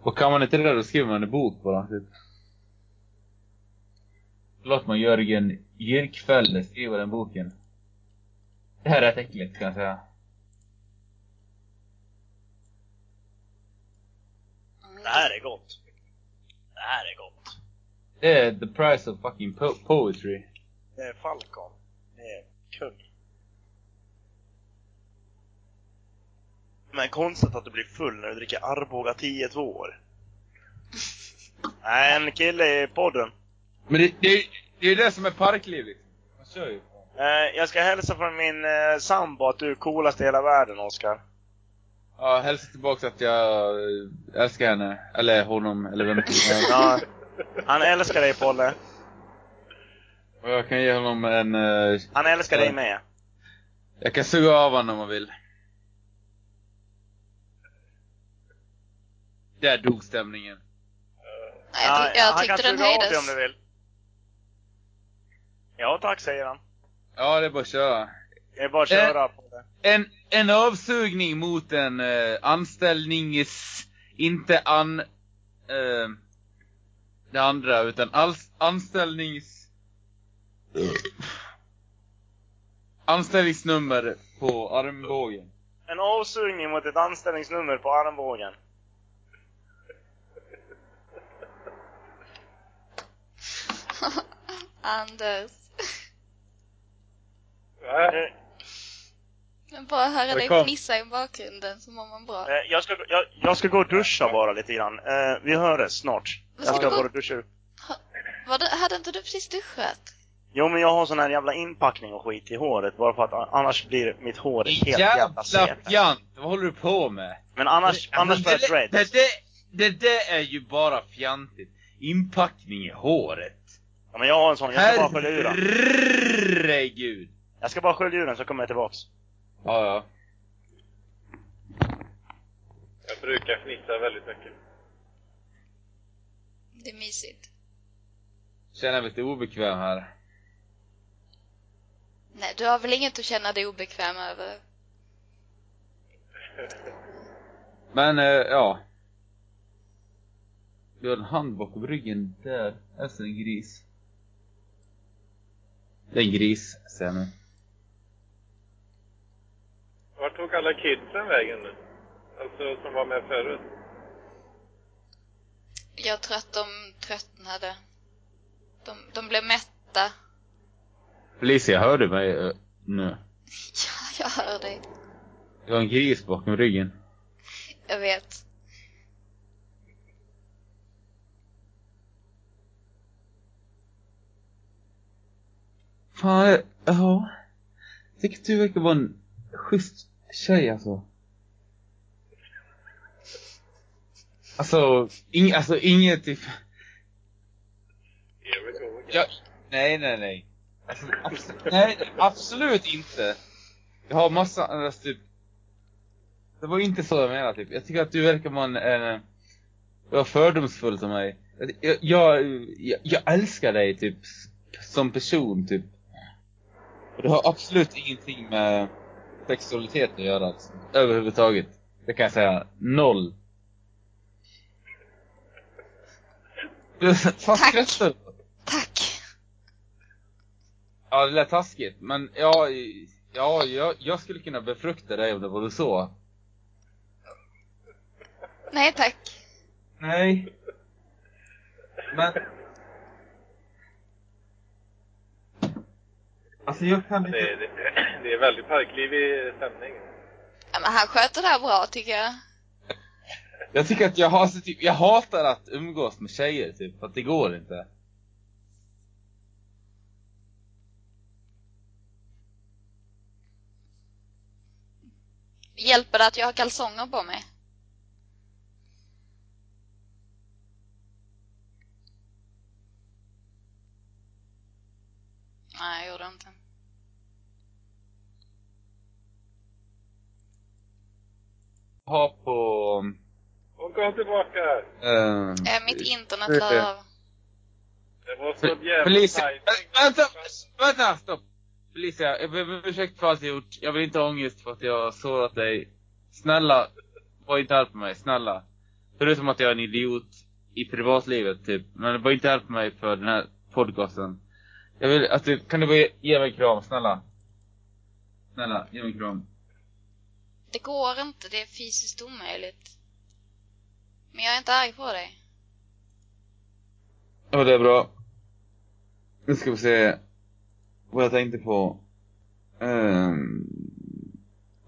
S5: Och kan man inte det där, då skriver man en bok bara. Typ. Låt mig Jörgen Jyrkfelder skriva den boken. Det här är rätt äckligt kan jag säga.
S4: Mm.
S2: Det här är gott. Det här är gott.
S5: Det är the price of fucking po- poetry.
S2: Det är Falcon. Det är kung. Men konstigt att du blir full när du dricker Arboga 10 två år. Nej, en kille i podden.
S5: Men det, det, det är ju det som är parklivet. Man kör ju.
S2: Eh, jag ska hälsa från min eh, sambo att du är coolast i hela världen, Oskar.
S5: Ja, hälsa tillbaka att jag eh, älskar henne. Eller honom, eller vem det är.
S2: Ja, (laughs) han älskar dig, Polle.
S5: Och jag kan ge honom en... eh,
S2: Han älskar dig med.
S5: Jag kan suga av honom om man vill. Där dog stämningen.
S4: Nej, jag, ty- jag tyckte den
S2: Han kan suga av dig om
S4: höjdes.
S2: du vill. Ja tack, säger han.
S5: Ja, det är bara att köra.
S2: Det är bara att köra på det.
S5: En, en avsugning mot en eh, anställnings... Inte an... Eh, det andra, utan alls, anställnings... Anställningsnummer på armbågen.
S2: En avsugning mot ett anställningsnummer på armbågen.
S4: Anders.
S1: Va?
S2: Eh,
S4: Men bara höra
S5: Jag
S4: dig
S5: kom.
S4: fnissa i bakgrunden så mår man bra.
S2: eh, jag, ska, jag, jag ska gå och duscha bara lite grann. Eh, vi hörs snart. Jag
S4: Vad ska
S2: ska
S4: du
S2: bara
S4: gå-
S2: duscha.
S4: Var det, hade inte du precis duschat?
S2: Jo men jag har sån här jävla inpackning och skit i håret bara för att a- annars blir mitt hår helt jävla
S5: Jävla
S2: sete.
S5: fjant! Vad håller du på med?
S2: Men annars, annars får jag
S5: det, det,
S2: dreads.
S5: det, det där är ju bara fjantigt. Inpackning i håret.
S2: Ja, men jag har en sån, jag ska bara skölja ur den.
S5: Herregud!
S2: Jag ska bara skölja ur den så kommer jag tillbaks.
S5: Ja, ja.
S1: Jag brukar fnissa väldigt mycket.
S4: Det är mysigt.
S5: Känner mig lite obekväm här.
S4: Nej, du har väl inget att känna dig obekväm över?
S5: Men, eh, ja. Du har en hand bakom ryggen där. Efter en gris. Det är en gris, säger jag nu.
S1: Vart tog alla kidsen vägen nu? Alltså som var med förut?
S4: Jag tror att de tröttnade. De, de blev mätta. (laughs)
S5: Felicia, hör du mig eh, nu?
S4: Ja, jag hör dig.
S5: Du har en gris bakom ryggen.
S4: Jag vet.
S5: Fan, eh, ja. Jag tycker att du verkar vara en schysst tjej alltså. Alltså, ing, alltså inget typ...
S1: Here we go again.
S5: Ja, nej, nej, nej. Alltså, absolut, nej, absolut inte. Jag har massa andra typ... Det var inte så jag menade typ. Jag tycker att du verkar vara en... en du var fördomsfull till mig. Jag, jag, jag, jag älskar dig typ, som person typ. Och det har absolut ingenting med sexualitet att göra alltså. Överhuvudtaget. Det kan jag säga. Noll. Du, vad
S4: Tack.
S5: skrattar du?
S4: Tack.
S5: Ja, det lät taskigt, men ja, ja jag, jag skulle kunna befrukta dig om det vore så.
S4: Nej tack.
S5: Nej. Men... Alltså jag kan
S1: Det, är- det, det är väldigt parklivig stämning.
S4: Ja, men han sköter det här bra tycker jag.
S5: Jag tycker att jag har så typ, jag hatar att umgås med tjejer typ, för att det går inte.
S4: Hjälper det att jag har kalsonger på mig? Nej, jag gjorde inte.
S5: Ha på...
S1: Och kom tillbaka!
S5: ehm,
S4: Äh, mitt internet
S5: Eh,
S4: la av.
S1: Det var så
S5: Fe-
S1: jävla
S5: Felicia,
S1: tajt.
S5: Äh, vänta, vänta, stopp! Felicia, jag ber om ursäkt för allt jag gjort. Jag vill inte ha ångest för att jag har sårat dig. Snälla, var inte arg på mig, snälla. Förutom att jag är en idiot i privatlivet, typ. Men var inte arg på mig för den här podcasten. Jag vill att du, kan du bara ge- ge mig en kram, snälla? Snälla, ge mig en kram.
S4: Det går inte, det är fysiskt omöjligt. Men jag är inte arg på dig.
S5: Ja, det är bra. Nu ska vi se vad jag tänkte på. Ehm.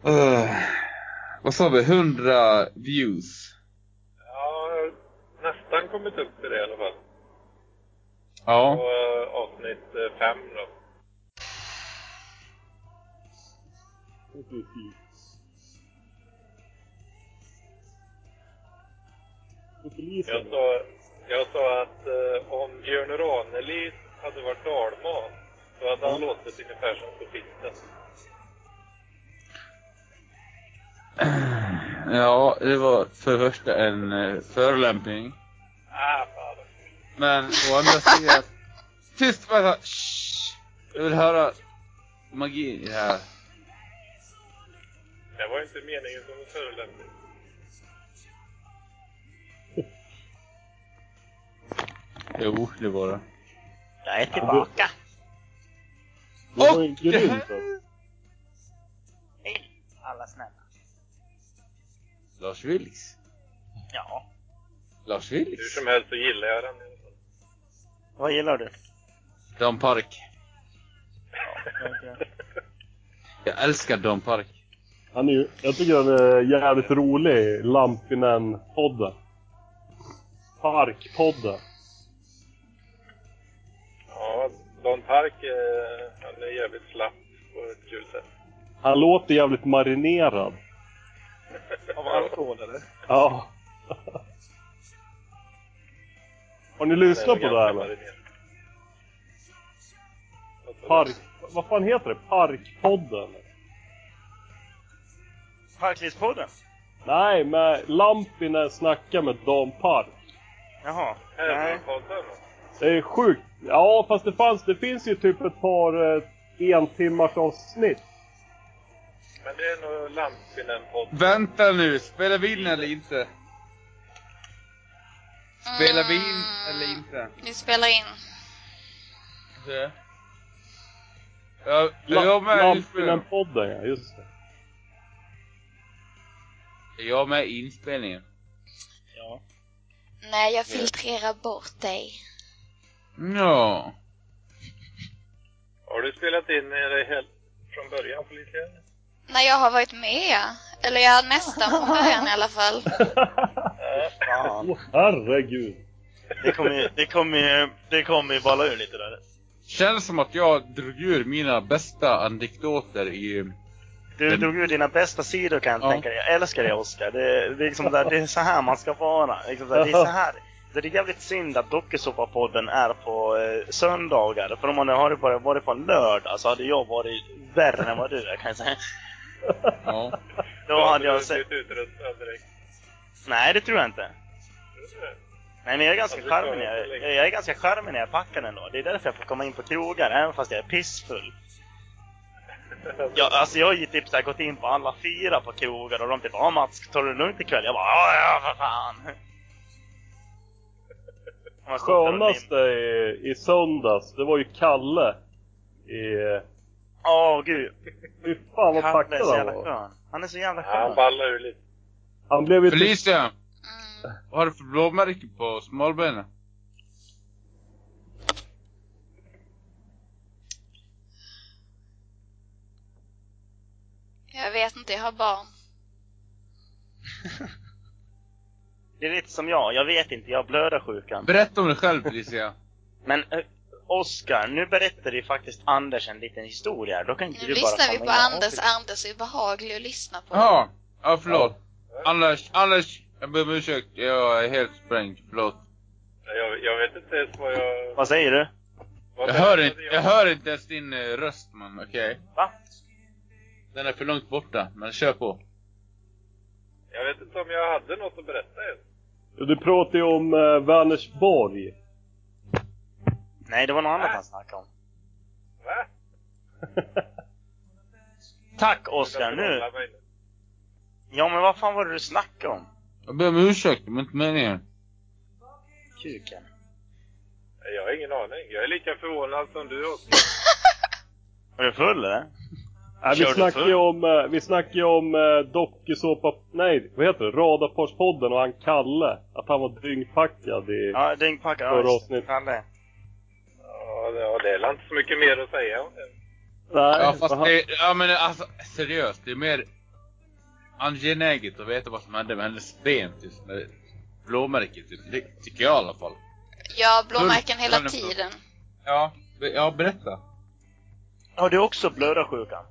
S5: Eh, vad sa vi? 100 views.
S1: Ja, jag har nästan kommit upp till det i alla fall. På
S5: Ja.
S1: eh, avsnitt eh, fem då.
S3: Precis. Och
S1: Jag
S3: Polisen.
S1: sa, jag sa att eh, om Björn Ranelid hade varit dalmas så hade han låtit ungefär som på filmen.
S5: Eh, Ja, det var för det första en eh, förolämpning.
S1: Ah, fan.
S5: Men å andra sidan... Tyst bara! Shh. Jag vill höra magi i det här.
S1: Det var inte meningen som en förolämpning.
S5: Jo, det var det.
S2: Jag är tillbaka!
S3: Det var en
S5: Och det
S3: grym
S5: här-
S3: röst.
S2: Hej! Alla snälla.
S5: Lars Vilks.
S2: Ja.
S5: Lars
S1: Hur
S5: Vilks.
S1: som helst så gillar jag den i alla fall.
S2: Vad gillar du?
S5: Dan Park.
S2: Ja,
S5: Jag älskar Dan Park.
S3: Han är ju, jag tycker han är jävligt rolig, Lampinen-podden. Parkpodden.
S1: Ja, Don Park, eh, han är jävligt slapp på ett kul sätt.
S3: Han låter jävligt marinerad.
S7: Av alkohol eller?
S3: Ja. (laughs) Har ni lyssnat
S1: Den är
S3: på det här
S1: ganska
S3: eller?
S1: marinerad.
S3: Park... Vad fan heter det? Parkpodden?
S2: Parklivspodden?
S3: Nej, men Lampinen snackar med Dan Park.
S2: Jaha. Nej.
S1: Herrepodden.
S3: Det är sjukt. Ja, fast det fanns, det finns ju typ ett par eh, entimmars avsnitt.
S1: Men det är nog Lampinen-podden.
S5: Vänta nu, spelar vi in eller inte? Spelar vi in eller inte?
S4: Mm. Vi spelar in.
S5: Se. Jag, jag, jag, med, inspelningen.
S3: Lampinen-podden, ja. Just det.
S5: jag är med i inspelningen.
S2: Ja.
S4: Nej, jag filtrerar bort dig.
S5: Ja.
S1: Har du spelat in det helt från början, Felicia?
S4: Nej, jag har varit med. Eller jag är nästan från början i alla fall.
S2: Fan.
S3: Åh, herregud.
S7: Det kommer ju, det kommer ju, det kommer ju balla ur lite där.
S5: Känns som att jag drog ur mina bästa anekdoter i...
S2: Du
S5: Den-
S2: drog ur dina bästa sidor kan jag
S5: Ja.
S2: tänka dig. Jag älskar dig Oscar. Det, det, är liksom där, det är så här man ska vara. Liksom där, det är så här. Det är jävligt synd att Dokusåpa-podden är på eh, söndagar. För om man hade varit- varit på en lördag så hade jag varit värre än vad du är kan jag säga.
S5: (laughs) Ja.
S2: Då hade jag sett...
S1: blivit utröstad direkt.
S2: Nej, det tror jag inte. Nej, men jag är ganska
S1: Ja, det klarar
S2: charmig när
S1: jag inte
S2: jag,
S1: längre.
S2: jag är ganska charmig när jag packar ändå. Det är därför jag får komma in på krogar, även fast jag
S1: (laughs)
S2: är pissfull. Jag, alltså jag har ju typ så här gått in på alla fyra på krogar och de typ ah Mats, tar du det lugnt ikväll?” Jag bara "Ja, ja för fan!” Man skjuter och lim-
S3: Skönaste i, i söndags, det var ju Kalle. I,
S2: Åh gud!
S3: fy fan vad
S2: Kalle är
S3: packad
S2: så
S3: han
S2: jävla
S3: var.
S2: skön. Han är så jävla
S1: Han
S2: skön.
S1: ballar ur lite.
S3: Han blev ju... typ-
S5: Felicia!
S4: Mm.
S5: Vad har du för blåmärke på smalbenen?
S4: Jag vet inte, jag har barn.
S2: Det är lite som jag, jag vet inte, jag har blödarsjukan.
S5: Berätta om dig själv Felicia.
S2: Men eh, Oscar, nu berättar ju faktiskt Anders en liten historia. här. Då kan inte du
S4: Nu
S2: bara
S4: lyssnar vi
S2: komma in
S4: på
S2: och-
S4: Anders. Anders är behaglig att lyssna på.
S5: Jaha. Ja, förlåt. Anders, Anders! Jag ber om ursäkt, jag är helt sprängd. Förlåt.
S1: Jag, jag vet inte ens vad jag...
S2: Vad säger du?
S1: Vad
S5: Jag hör,
S1: berättade
S5: inte, jag hör inte ens din eh, röst man, okej?
S2: Va?
S5: Den är för långt borta, men kör på.
S1: Jag vet inte om jag hade något att berätta ens.
S3: Du pratade ju om eh, Vänersborg.
S2: Nej, det var något annat
S1: Äh.
S2: han snackade om.
S1: Va?
S2: Tack Oskar,
S1: Jag
S2: nu!
S1: hålla mig nu.
S2: Ja men vad fan var det du snackade om?
S5: Jag ber om ursäkt, det var inte meningen.
S2: Kuken.
S1: Jag har ingen aning. Jag är lika förvånad som du också.
S7: Är du full eller?
S3: Nej, Äh, vi
S7: Kör du
S3: snackar ju om, eh, vi snackar ju om eh, dokusåpa... Nej, vad heter det? Radarparspodden och han Kalle. Att han var dyngpackad i...
S7: Ja, dyngpacka. Ja,
S3: Förra
S7: just det.
S3: avsnitt.
S7: Fan det.
S1: Ja, det, ja, det är väl inte så mycket mer att säga om det.
S3: Nej,
S5: Ja, fast
S3: han,
S5: det, ja men alltså seriöst, det är mer angeläget att veta vad som hände med hennes ben typ. Med blåmärket typ. Det tycker jag i alla fall.
S4: Ja, blåmärken
S5: Full-
S4: hela
S5: full- full.
S4: tiden.
S5: Ja, be- ja berätta.
S7: Har du också blödarsjukan?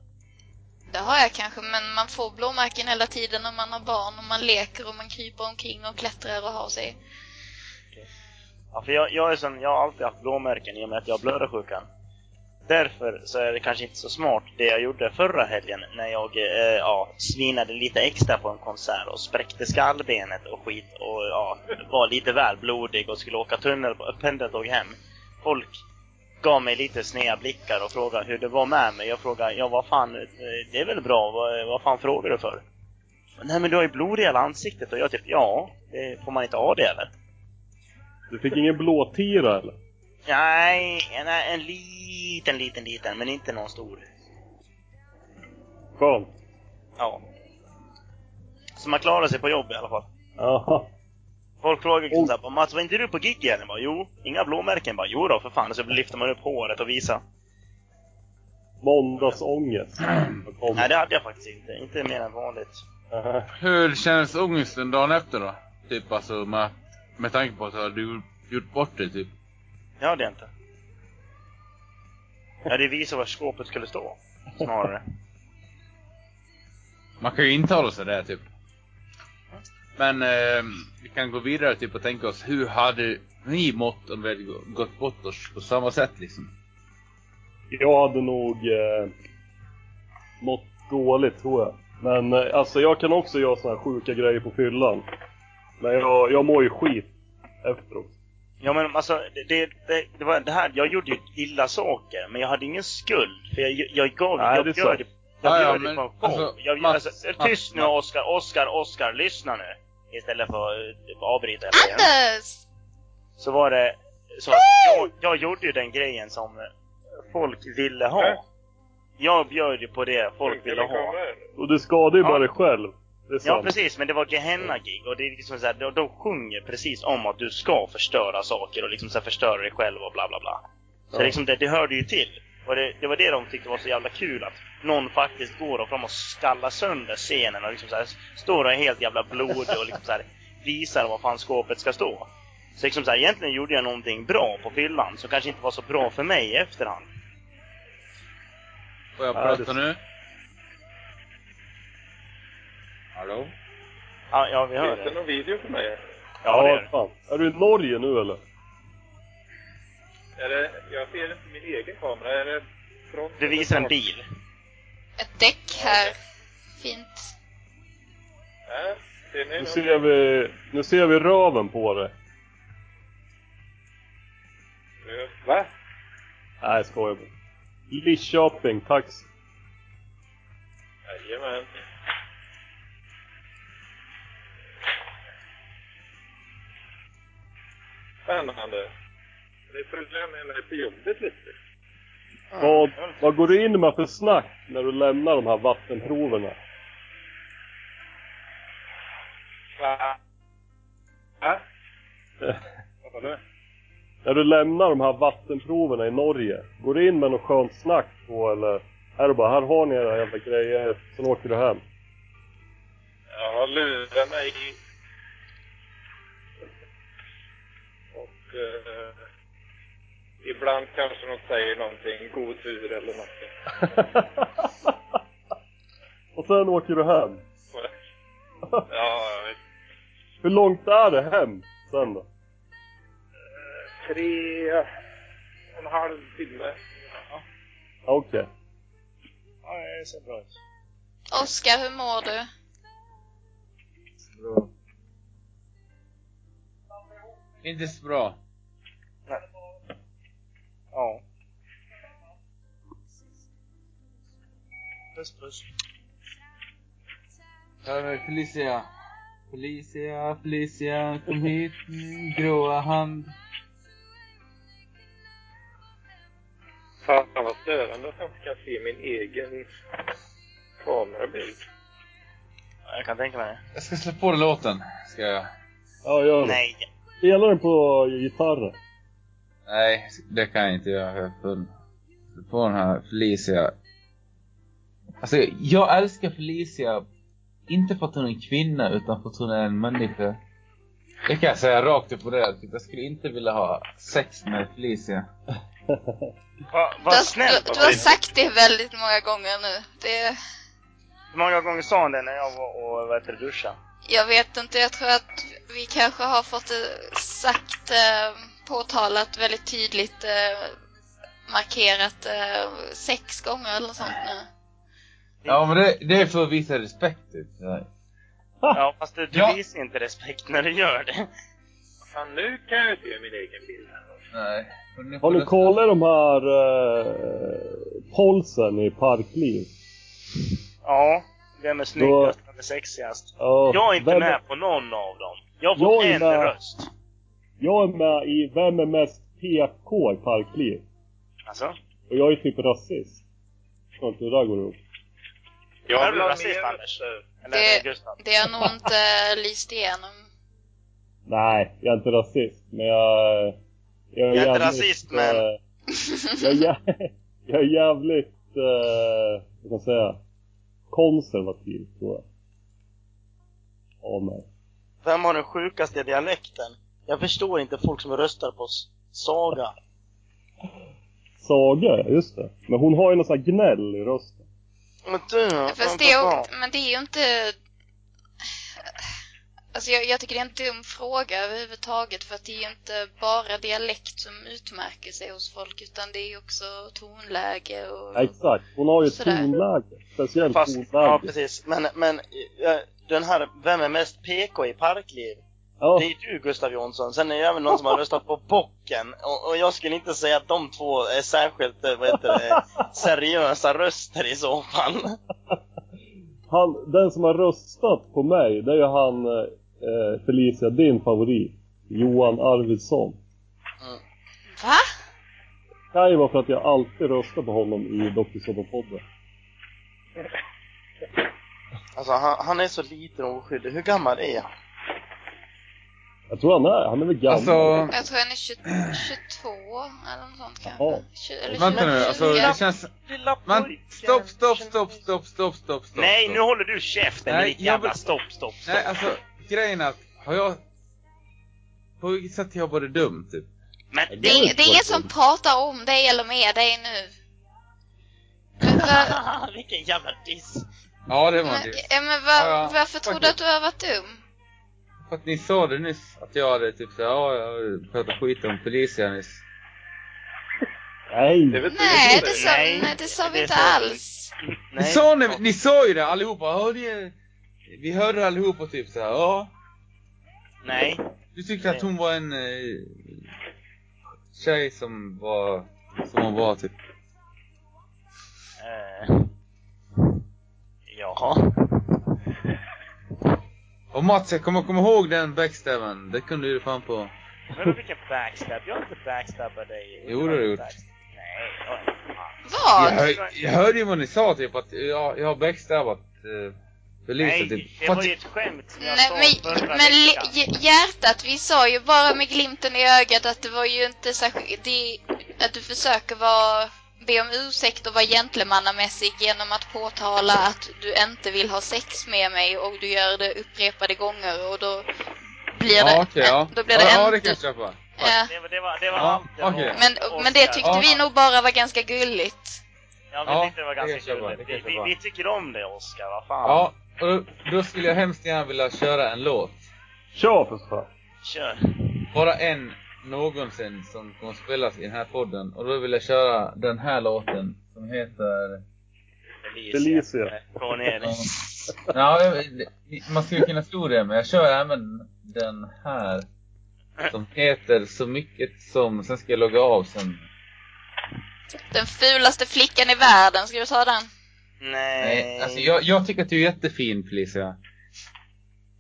S4: Det har jag kanske, men man får blåmärken hela tiden när man har barn och man leker och man kryper omkring och klättrar och har sig.
S2: Ja, för jag, jag, är sån, jag har alltid haft blåmärken i och med att jag har blödarsjukan. Därför så är det kanske inte så smart det jag gjorde förra helgen när jag eh, ja, svinade lite extra på en konsert och spräckte skallbenet och skit och ja, var lite väl blodig och skulle åka tunnel, pendeltåg hem. Folk gav mig lite sneda blickar och frågade hur det var med mig. Jag frågade, ja vad fan, eh, det är väl bra, vad, vad fan frågar du för? Nej men du har ju blod i hela ansiktet och jag typ, ja, det får man inte ha det eller?
S3: Du fick ingen blåtira eller?
S2: Nej, en, en liten, liten, liten, men inte någon stor.
S3: Skönt.
S2: Ja. Så man klarar sig på jobb i alla fall.
S3: Jaha.
S2: Folk frågar liksom
S3: Och-
S2: såhär, bara, Mats var inte du på gig igen? Jag bara, jo. Inga blåmärken? Jag bara, jo då för fan. Så lyfter man upp håret och visar.
S3: Måndagsångest. Vad kom.
S2: Nej, det hade jag faktiskt inte. Inte mer än vanligt.
S3: Aha.
S5: Hur känns ångesten dagen efter då? Typ alltså med, med tanke på att du gjort bort det typ.
S2: Det hade jag inte. Jag hade visat var skåpet skulle stå. Snarare.
S5: Man kan ju intala sig det typ. Men ehm, vi kan gå vidare typ och tänka oss hur hade ni mått om vi hade gå- gått bort oss på samma sätt liksom?
S3: Jag hade nog eh, mått dåligt tror jag. Men eh, alltså jag kan också göra såna här sjuka grejer på fyllan. Men jag, jag mår ju skit efteråt.
S2: Ja men alltså, det, det, det, det var det här, jag gjorde ju illa saker, men jag hade ingen skuld. För jag, jag gav
S3: Nej,
S2: jag
S3: det är
S2: bjöd
S3: sant.
S2: ju- jag
S5: Ja, ja,
S2: bjöd ju
S5: men
S2: på en show.
S5: alltså,
S2: jag,
S5: Mats,
S2: alltså,
S5: Mats,
S2: tyst nu
S5: Mats.
S2: Oskar, Oskar, Oskar, lyssna nu! Istället för att eh, avbryta hela tiden.
S4: Anders!
S2: Så var det, så att jag, jag gjorde ju den grejen som eh, folk ville
S1: Nej.
S2: ha. Jag bjöd ju på det folk ville
S1: Funkar
S2: ha.
S1: kameran?
S3: Och du skadar ju
S2: Ja.
S3: bara dig själv. Det är
S2: Ja
S3: sant.
S2: precis, men det var Gehenna-gig och det är liksom så här, de, de sjunger precis om att du ska förstöra saker och liksom så här, förstöra dig själv och bla bla bla. Så
S3: Ja.
S2: liksom det, det hörde ju till. Och det, det var det de tyckte var så jävla kul, att någon faktiskt går och fram och skallar sönder scenen och liksom så här, står och är helt jävla blodig och liksom så här, visar var fan skåpet ska stå. Så liksom så här, egentligen gjorde jag någonting bra på fyllan som kanske inte var så bra för mig i efterhand.
S5: Får jag
S3: Ja,
S5: prata
S3: det-
S5: nu? Hallå?
S2: Ja, ja vi hör
S1: Finns det
S2: det.
S1: någon video för mig?
S2: Ja, det är det.
S3: fan. Är du i Norge nu eller?
S1: Är det, jag ser inte min egen kamera. Är det front
S2: Du
S1: eller
S2: visar en
S1: bak?
S2: bil.
S4: Ett däck här. Fint.
S1: Nej, Äh, ser ni
S3: Nu
S1: något?
S3: ser vi, nu ser vi röven på dig.
S1: Va?
S3: Nej, jag skojar bara. Lidköping, taxi.
S1: Jajamän. Spännande. Ni följer med mig på jobbet lite.
S3: Vad, vad går du in med för snack när du lämnar de här vattenproverna?
S1: Va? Va? Vad sa du?
S3: När du lämnar de här vattenproverna i Norge, går du in med något skönt snack då eller? Är det bara, här har ni era jävla grejer, sen åker du hem. (laughs)
S1: Ja, lurarna i... Och eh, ibland kanske de säger någonting, god tur eller (laughs) någonting.
S3: Och sen åker du hem.
S1: Ja, jag vet.
S3: Hur långt är det hem sen då?
S1: Tre och en halv timme. Ja.
S3: Ja, Okej.
S2: Ja, det ser bra ut.
S4: Oskar, hur mår du?
S5: Inte så bra.
S2: Ja. Puss puss.
S5: Hörru Felicia. Felicia, Felicia, kom hit min gråa hand.
S1: störande att jag inte kan se min egen kamerabild.
S2: Jag kan tänka mig det.
S5: Jag ska slå på den låten. Ska jag.
S3: Ja, gör det.
S2: Nej.
S3: Spelar den på gitarren?
S5: Nej, det kan jag inte göra. Jag är full. Slå på den här Felicia. Alltså, jag älskar Felicia. Inte för att hon är en kvinna, utan för att hon är en människa. Det kan jag säga rakt upp och ner. Typ, jag skulle inte vilja ha sex med Felicia.
S2: Va,
S4: Du
S2: vad
S4: har,
S2: snällt!
S4: du, du har sagt det väldigt många gånger nu. Det,
S2: Hur många gånger sa han det när jag var och vad heter det, duscha?
S4: jag vet inte, jag tror att vi kanske har fått det sagt eh, påtalat väldigt tydligt eh, markerat eh, sex gånger eller något sånt nu.
S5: Ja, men det, det är för att visa respekt. Typ. Nej.
S2: Ja, fast du, du
S5: Ja.
S2: visar inte respekt när du gör det.
S1: Fan, nu kan jag ju se min egen bild. här.
S5: Nej. Och nu får
S3: Har ni
S5: du-
S3: kollat de här eh, polsen i Parkliv?
S2: Ja, vem är snyggast, vem är sexigast?
S3: Ja,
S2: Jag är inte
S3: vem-
S2: med på någon av dem. Jag har
S3: Jag
S2: fått
S3: är
S2: en
S3: med.
S2: röst.
S3: Jag är med i Vem är mest PK i Parkliv?
S2: Alltså,
S3: Och jag är typ rasist. Förstår inte hur det där går ihop.
S2: jag är du
S1: vill ha
S2: rasist
S1: mer
S2: Anders? Eller
S4: Det-
S2: det... Gustav?
S4: Det har nog inte (laughs) lyst igenom.
S3: Nej, jag är inte rasist, men jag... eh,
S2: Jag
S3: Jag
S2: är inte
S3: jävligt,
S2: rasist, men-
S3: eh, jag, är, jä- (laughs) jag är jävligt... Eh, vad kan man säga? Konservativ, tror jag. Av mig.
S7: Vem har den sjukaste dialekten? Jag förstår inte folk som röstar på s- Saga.
S3: Saga, ja, just det. Men hon har ju någon sån här gnäll i rösten.
S7: Men du,
S4: Fast det är, ju- men det är ju inte... Alltså jag, jag tycker det är en dum fråga överhuvudtaget för att det är ju inte bara dialekt som utmärker sig hos folk utan det är ju också tonläge och...
S3: Ja, exakt. Hon har ju ett
S4: Sådär.
S3: tonläge. Speciellt
S7: Fast,
S3: tonläge.
S7: ja
S3: Ja,
S7: precis. Men, men eh, den här, vem är mest PK i parkliv? Det är ju du Gustav Jonsson, sen är det även någon som har röstat på Bocken. Och, och jag skulle inte säga att de två är särskilt, eh, vad heter det, seriösa röster i så fall.
S3: han, den som har röstat på mig, det är ju han eh, Felicia, din favorit. Johan Arvidsson.
S4: Va?
S3: kan ju vara för att jag alltid röstar på honom i Dokusåpa-podden.
S7: Alltså han, han är så liten och oskyldig. Hur gammal är han?
S3: Jag tror han är, han är väl gammal?
S5: Alltså,
S4: Jag tror han är 20, 22 eller något sånt kanske.
S3: Jaha.
S4: Tju- eller
S5: vänta nu.
S4: 20.
S5: Alltså, det känns...
S7: Lilla
S5: Man, stopp, stopp, stopp, stopp, stopp, stopp, stopp.
S2: Nej,
S5: stopp.
S2: nu håller du käften med
S5: Nej,
S2: ditt
S5: jag
S2: jävla
S5: vill-
S2: stopp, (laughs) stopp, stopp.
S5: Nej, alltså grejen är att, har jag... På vilket sätt har jag varit dum, typ?
S2: Men
S4: Det, är- det är ingen som pratar om dig eller med dig nu.
S5: (laughs)
S4: Vänta,
S7: Vilken jävla diss.
S5: Ja, det var
S4: men,
S5: det.
S4: ja, men
S5: Ja,
S4: var,
S5: ja.
S4: varför tror du att du har varit dum?
S5: För att ni sa det nyss, att jag hade typ såhär, ja, jag pratade skit om polisen nyss.
S3: Nej!
S1: Det vet du
S4: Nej,
S1: inte.
S4: det sa,
S2: Nej,
S4: nej, det sa vi
S2: det
S4: inte
S2: sa vi
S4: alls.
S5: Ni sa, ni, ni sa ju det allihopa, ja, det, vi hörde det allihopa typ såhär, ja.
S2: Nej.
S5: Du tyckte att hon var en eh, tjej som var, som hon var typ.
S2: Eh. Jaha.
S5: Och Mats, jag kommer komma ihåg den backstabben, det kunde du fan på.
S2: Men vilken backstab? Jag har inte backstabbat dig.
S5: Jo, det har du gjort.
S2: Backstab- Nej, jag har inte. fan.
S5: Jag,
S4: Vad?
S5: hör, jag hörde ju vad ni sa typ, att jag, jag har backstabbat eh, polisen
S2: Nej,
S5: typ.
S2: det
S5: För
S2: var
S5: att-
S2: ju ett skämt som jag
S4: Nej,
S2: sa
S4: men,
S2: förra
S4: men li-
S2: veckan.
S4: hj- hjärtat, vi sa ju bara med glimten i ögat att det var ju inte särskilt... det- Att du försöker vara, be om ursäkt och vara gentlemannamässig genom att påtala att du inte vill ha sex med mig och du gör det upprepade gånger och då blir det...
S5: Ja, okej, ja.
S4: Då blir det
S5: ja, ja,
S4: en-
S5: det kan jag köpa.
S4: Ja.
S2: Det var, det var, det var
S5: Ja,
S2: allt jag
S5: okej.
S2: var.
S4: Men, men det tyckte
S5: Ja.
S4: vi nog bara var ganska gulligt.
S2: Ja, vi
S5: Ja,
S2: tyckte det var
S5: det kan
S2: ganska
S5: jag köpa,
S2: kul.
S5: det kan
S2: Vi,
S5: jag
S2: vi,
S5: köpa.
S2: vi tycker om det, Oskar. Vad fan.
S5: Ja, och då, då skulle jag hemskt gärna vilja köra en låt.
S3: Kör för fan!
S2: Kör.
S5: Bara en någonsin som kommer att spelas i den här podden. Och då vill jag köra den här låten som heter...
S3: Felicia.
S2: Från Elis.
S5: Ja, det- det- man skulle kunna tro det, men jag kör även den här. Som heter Så mycket som... Sen ska jag logga av sen.
S4: Den fulaste flickan i världen, ska du ta den?
S5: Nej,
S2: Nej.
S5: alltså jag, jag tycker att du är jättefin Felicia.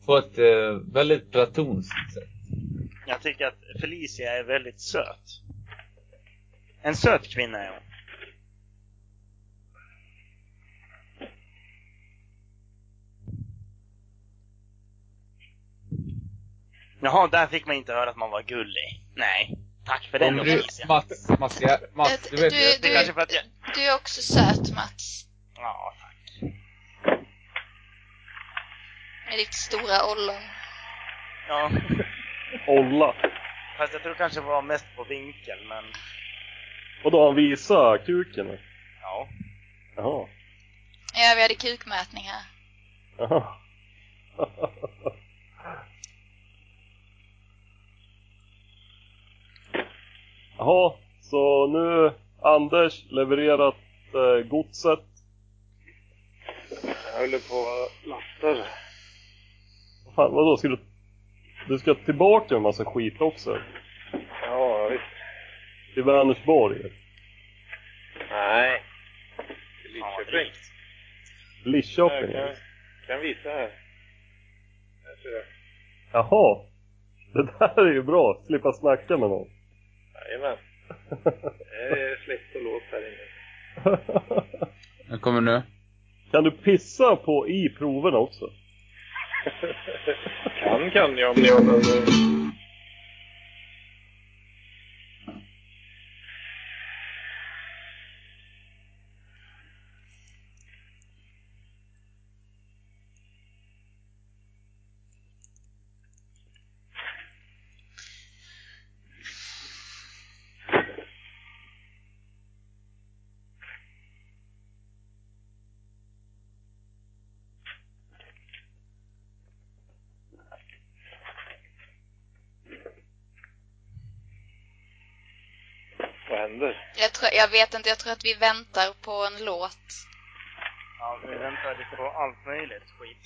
S5: På ett eh, väldigt platonskt sätt.
S2: Jag tycker att Felicia är väldigt söt. En söt kvinna är hon. Jaha, där fick man inte höra att man var gullig. Nej. Tack för den
S5: Om du,
S2: Lottis.
S5: Mats, Mats, jag, Mats, du vet
S4: Du-
S5: jag
S4: du-
S5: tycker-
S2: Kanske för att jag...
S4: Du är också söt Mats.
S2: Ja, tack.
S4: Med ditt stora ollon.
S2: Ja.
S3: Olla.
S2: Fast jag tror kanske det var mest på vinkeln, men...
S3: Och då han visar kuken? eller?
S2: Ja.
S3: Jaha.
S4: Ja, vi hade kukmätning här.
S3: Jaha. (laughs) Jaha, så nu Anders levererat eh, godset.
S1: Jag håller på och lastar.
S3: Vad Fan, vadå, ska du... Du ska tillbaka med massa skit också?
S1: Ja, visst.
S3: Till Vänersborg?
S1: Nej. Till
S2: Fan, vad
S1: Lidköping.
S2: drygt.
S1: Jag
S3: Lidköping?
S1: kan, kan visa här. Här ser jag.
S3: Jaha! Det där är ju bra, slippa snacka med någon. (laughs)
S1: (laughs) Jajamän. Det är släkt och låt här inne.
S5: Jag kommer nu.
S3: kan du pissa på i proverna också?
S1: Kan kan jag, men... men eh, vad händer?
S4: Jag, tror, jag vet inte, jag tror att vi väntar på en låt.
S2: Ja, vi väntar lite på allt möjligt skit.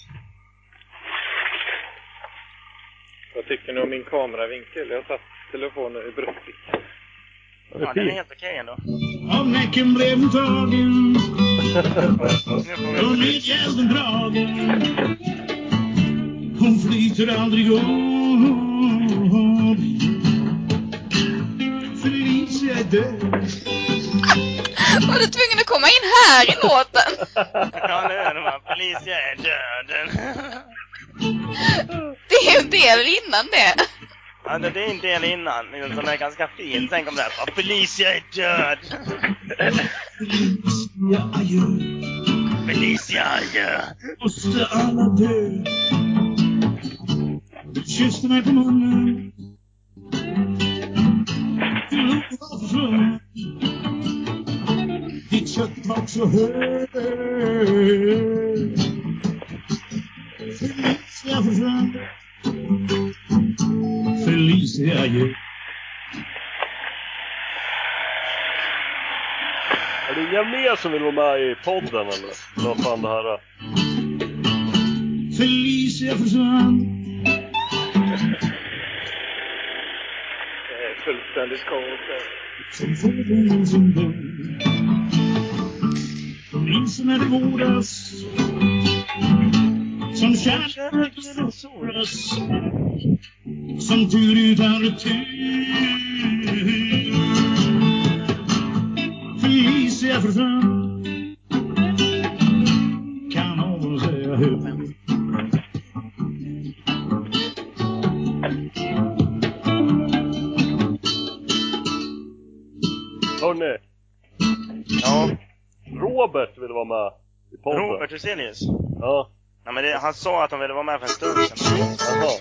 S1: Vad tycker ni om min kameravinkel? Jag har satt telefonen i bröstfickan.
S3: Det
S2: Ja,
S3: är
S2: den är
S3: fint.
S2: helt okej ändå.
S8: Avnäcken blev en tagen
S2: Nu får
S8: och
S2: vi...
S8: med gälden dragen Hon flyter aldrig upp För Elise är död
S4: Var du tvungen att komma in här i låten?
S2: Ja, nu är det bara Felicia är döden.
S4: Det är ju en del innan det.
S2: Ja, det det är en del innan men som är ganska fin. Sen kom det här bara, Felicia är död.
S8: Ja, adjö
S2: Felicia är död.
S8: Måste alla dö Kysste mig på munnen Förlåt var försvunnen Ditt kött var också högt Felicia försvann Felicia ju
S3: Är det inga mer som vill vara med i podden eller? Vad fan det här är?
S8: Felicia försvann
S1: Det är fullständigt kaos här.
S8: Som fågeln som dör Minns när det vårdas Som kärleken solas Som tur utan retur Felicia försvann Kan någon säga hur?
S3: Hörni,
S2: Ja,
S3: Robert vill vara med i podden.
S2: Robert Hyselius.
S3: Ja.
S2: Nej, men det, han sa att han ville vara med för en stund sedan.
S3: Jaha.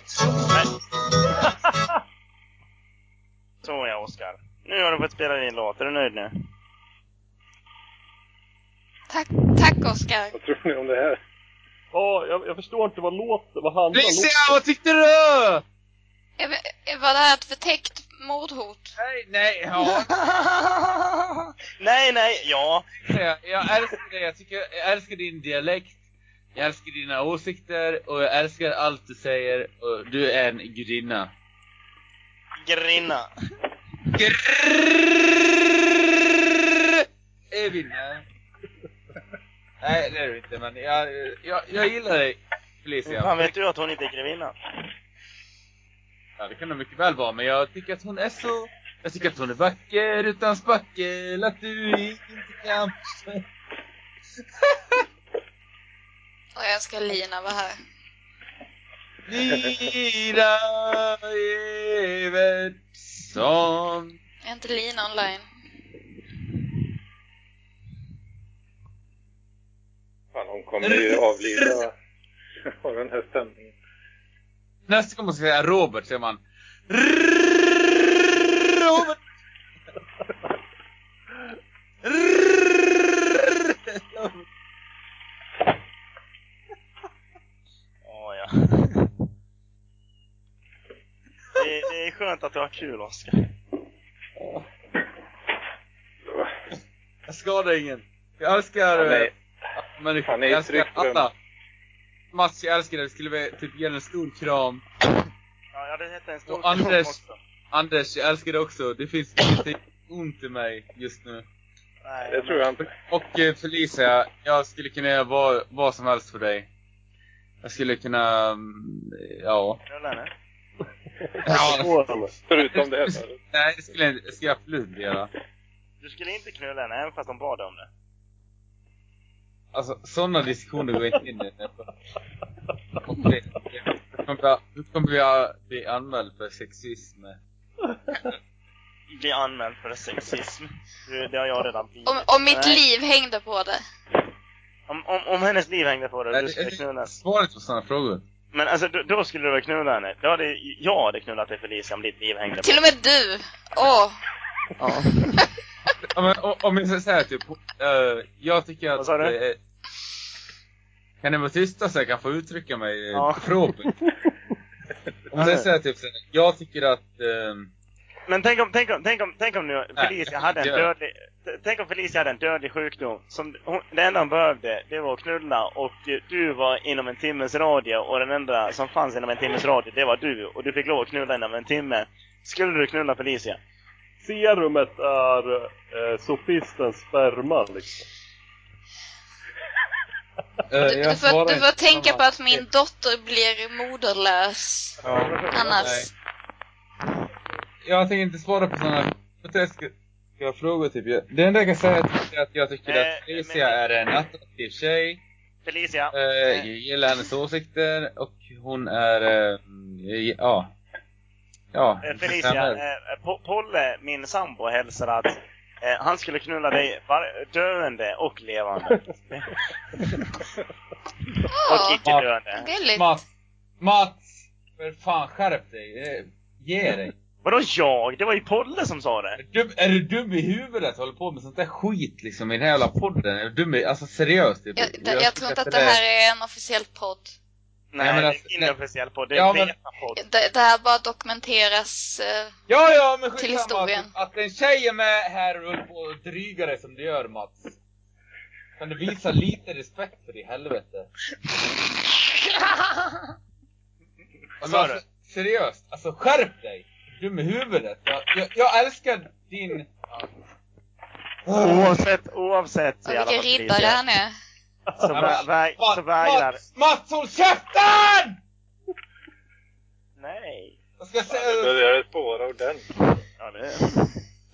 S2: Så ja, Oskar. Nu har du fått spela din låt. Är du nöjd nu? (laughs)
S4: Tack, tack Oskar.
S1: Vad tror ni om det här?
S3: Ja, jag, jag förstår inte vad låten, vad handlar låten
S5: Felicia, vad tyckte du?
S4: Är- Var det här ett förtäckt mordhot?
S5: Nej, nej, ja.
S2: nej, nej, ja.
S5: Jag, jag älskar dig, jag, tycker, jag älskar din dialekt. Jag älskar dina åsikter och jag älskar allt du säger. Och du är en gudinna.
S2: Grinna.
S5: Grrrr, är vinner. Nej, det är du inte, men jag, jag, jag gillar dig,
S2: Hur fan
S5: Felicia.
S2: vet du att hon inte är grevinna?
S5: Ja, det kan du mycket väl vara, men jag tycker att hon är så... Jag tycker att hon är vacker utan spackel, att du inte kan...
S4: Och jag ska Lina var här.
S5: Lina Evertsson.
S4: Är inte Lina online?
S1: Fan, hon kommer ju avlida (laughs) av den här stämningen.
S5: Nästa gång man ska säga Robert säger man Robert.
S2: Åh ja. Det, är- det är skönt att du har kul Oskar.
S5: Jag skadar ingen. Jag älskar
S1: Han
S5: eh,
S1: är,
S5: människor.
S1: han är
S5: Jag
S1: i
S5: älskar
S1: tryggt rum.
S5: alla. Mats, jag älskar dig. Jag skulle vilja typ ge dig en stor kram.
S2: Ja, jag hade gett dig en stor
S5: Och Anders.
S2: kram också.
S5: Anders, jag älskar dig också. Det finns inte ont i mig just nu.
S2: Nej,
S1: det tror jag inte.
S5: Och eh, Felicia, jag skulle kunna göra vad, vad som helst för dig. Jag skulle kunna, mm, ja.
S2: Knulla henne.
S5: ja
S3: Förstår henne.
S1: Förutom det här.
S5: nej, det skulle jag, inte- det skulle jag absolut inte göra.
S2: Du skulle inte knulla henne även fast de bad dig om det.
S5: Alltså sådana diskussioner går jag inte in i. Okej, okej. Nu kommer jag- Nu kommer jag bli anmäld för sexism.
S2: Bli anmäld för sexism. Du, Det har jag redan blivit.
S4: Om, om mitt
S2: Nej.
S4: liv hängde på det.
S2: Om, om, om hennes liv hängde på dig,
S5: Nej,
S2: du
S5: det-
S2: skulle
S5: det-
S2: knulla henne.
S5: Svaret på sådana frågor.
S2: Men alltså, då, då skulle du väl knulla henne? Då hade, jag hade knullat dig Felicia om ditt liv hängde på
S4: Till och med du! Åh!
S5: Ja. (laughs) Ja, men, o- om jag ska säga typ, eh, jag tycker att...
S2: Vad sa du?
S5: eh, kan ni vara tysta så jag kan få uttrycka mig eh,
S2: Ja. (laughs)
S5: propert? Om jag säger typ så här, jag tycker att... ehm,
S2: Men tänk om, tänk om, tänk om, tänk om nu
S5: Nej,
S2: Felicia hade en
S5: gör.
S2: dödlig, t- tänk om Felicia hade en dödlig sjukdom. Som hon, det enda hon behövde, det var att knulla och eh, du var inom en timmes radie och den enda som fanns inom en timmes radie, det var du. Och du fick lov att knulla inom en timme. Skulle du knulla Felicia?
S3: Serumet är eh, sofistens sperma liksom.
S5: eh,
S4: Du, du,
S5: jag svarar
S4: får, du
S5: inte
S4: får tänka
S5: samma.
S4: på att min dotter blir moderlös
S5: Ja. Nej.
S4: annars.
S5: Jag tänker inte svara på sådana groteska frågor typ. Jag- Det enda jag kan säga är att jag tycker
S2: Eh,
S5: att Felicia
S2: men-
S5: är en attraktiv tjej.
S2: Felicia!
S5: Eh, Jag gillar hennes åsikter och hon är... eh, mm, Ja. Ja.
S2: Eh, Felicia, eh, Po- Polle, min sambo, hälsar att eh, han skulle knulla dig var- döende och levande. Och
S4: Ja,
S2: icke döende.
S4: gulligt.
S5: Mats! Mats! För fan skärp dig! Eh, Ge dig!
S2: Vadå jag? Det var ju Polle som sa det!
S5: Är du dum, är du dum i huvudet? Håller på med sånt där skit liksom i den här jävla podden? Är du dum i, alltså seriöst? Typ.
S4: Jag, jag, jag tror inte att
S5: tycker
S4: det här är en officiell podd.
S2: Nej,
S5: Nej, men
S2: det
S5: alltså,
S2: är ingen
S5: nej.
S2: officiell podd. Det är
S5: Ja,
S2: en
S5: men-
S2: betapodd.
S4: Det, det här bara dokumenteras. eh,
S5: Ja, ja, men
S4: Till
S5: skitsamma
S4: historien.
S5: att, att en tjej är med här och håller på och drygar dig som du gör Mats. Kan du visa lite respekt för i
S4: (laughs)
S5: helvete? Alltså,
S2: Vad sa du?
S5: alltså, seriöst, alltså skärp dig! Är du Dum i huvudet. Jag, jag, jag älskar din...
S2: Oavsett, oavsett
S4: Och vilken riddare
S2: Felicia,
S4: han är.
S2: Så, vä- vä- så vägrar...
S5: Mats, Mats, håll käften!
S2: Nej!
S5: Jag ska
S1: Det
S5: säga,
S1: börjar spåra ordentligt.
S2: Ja, det...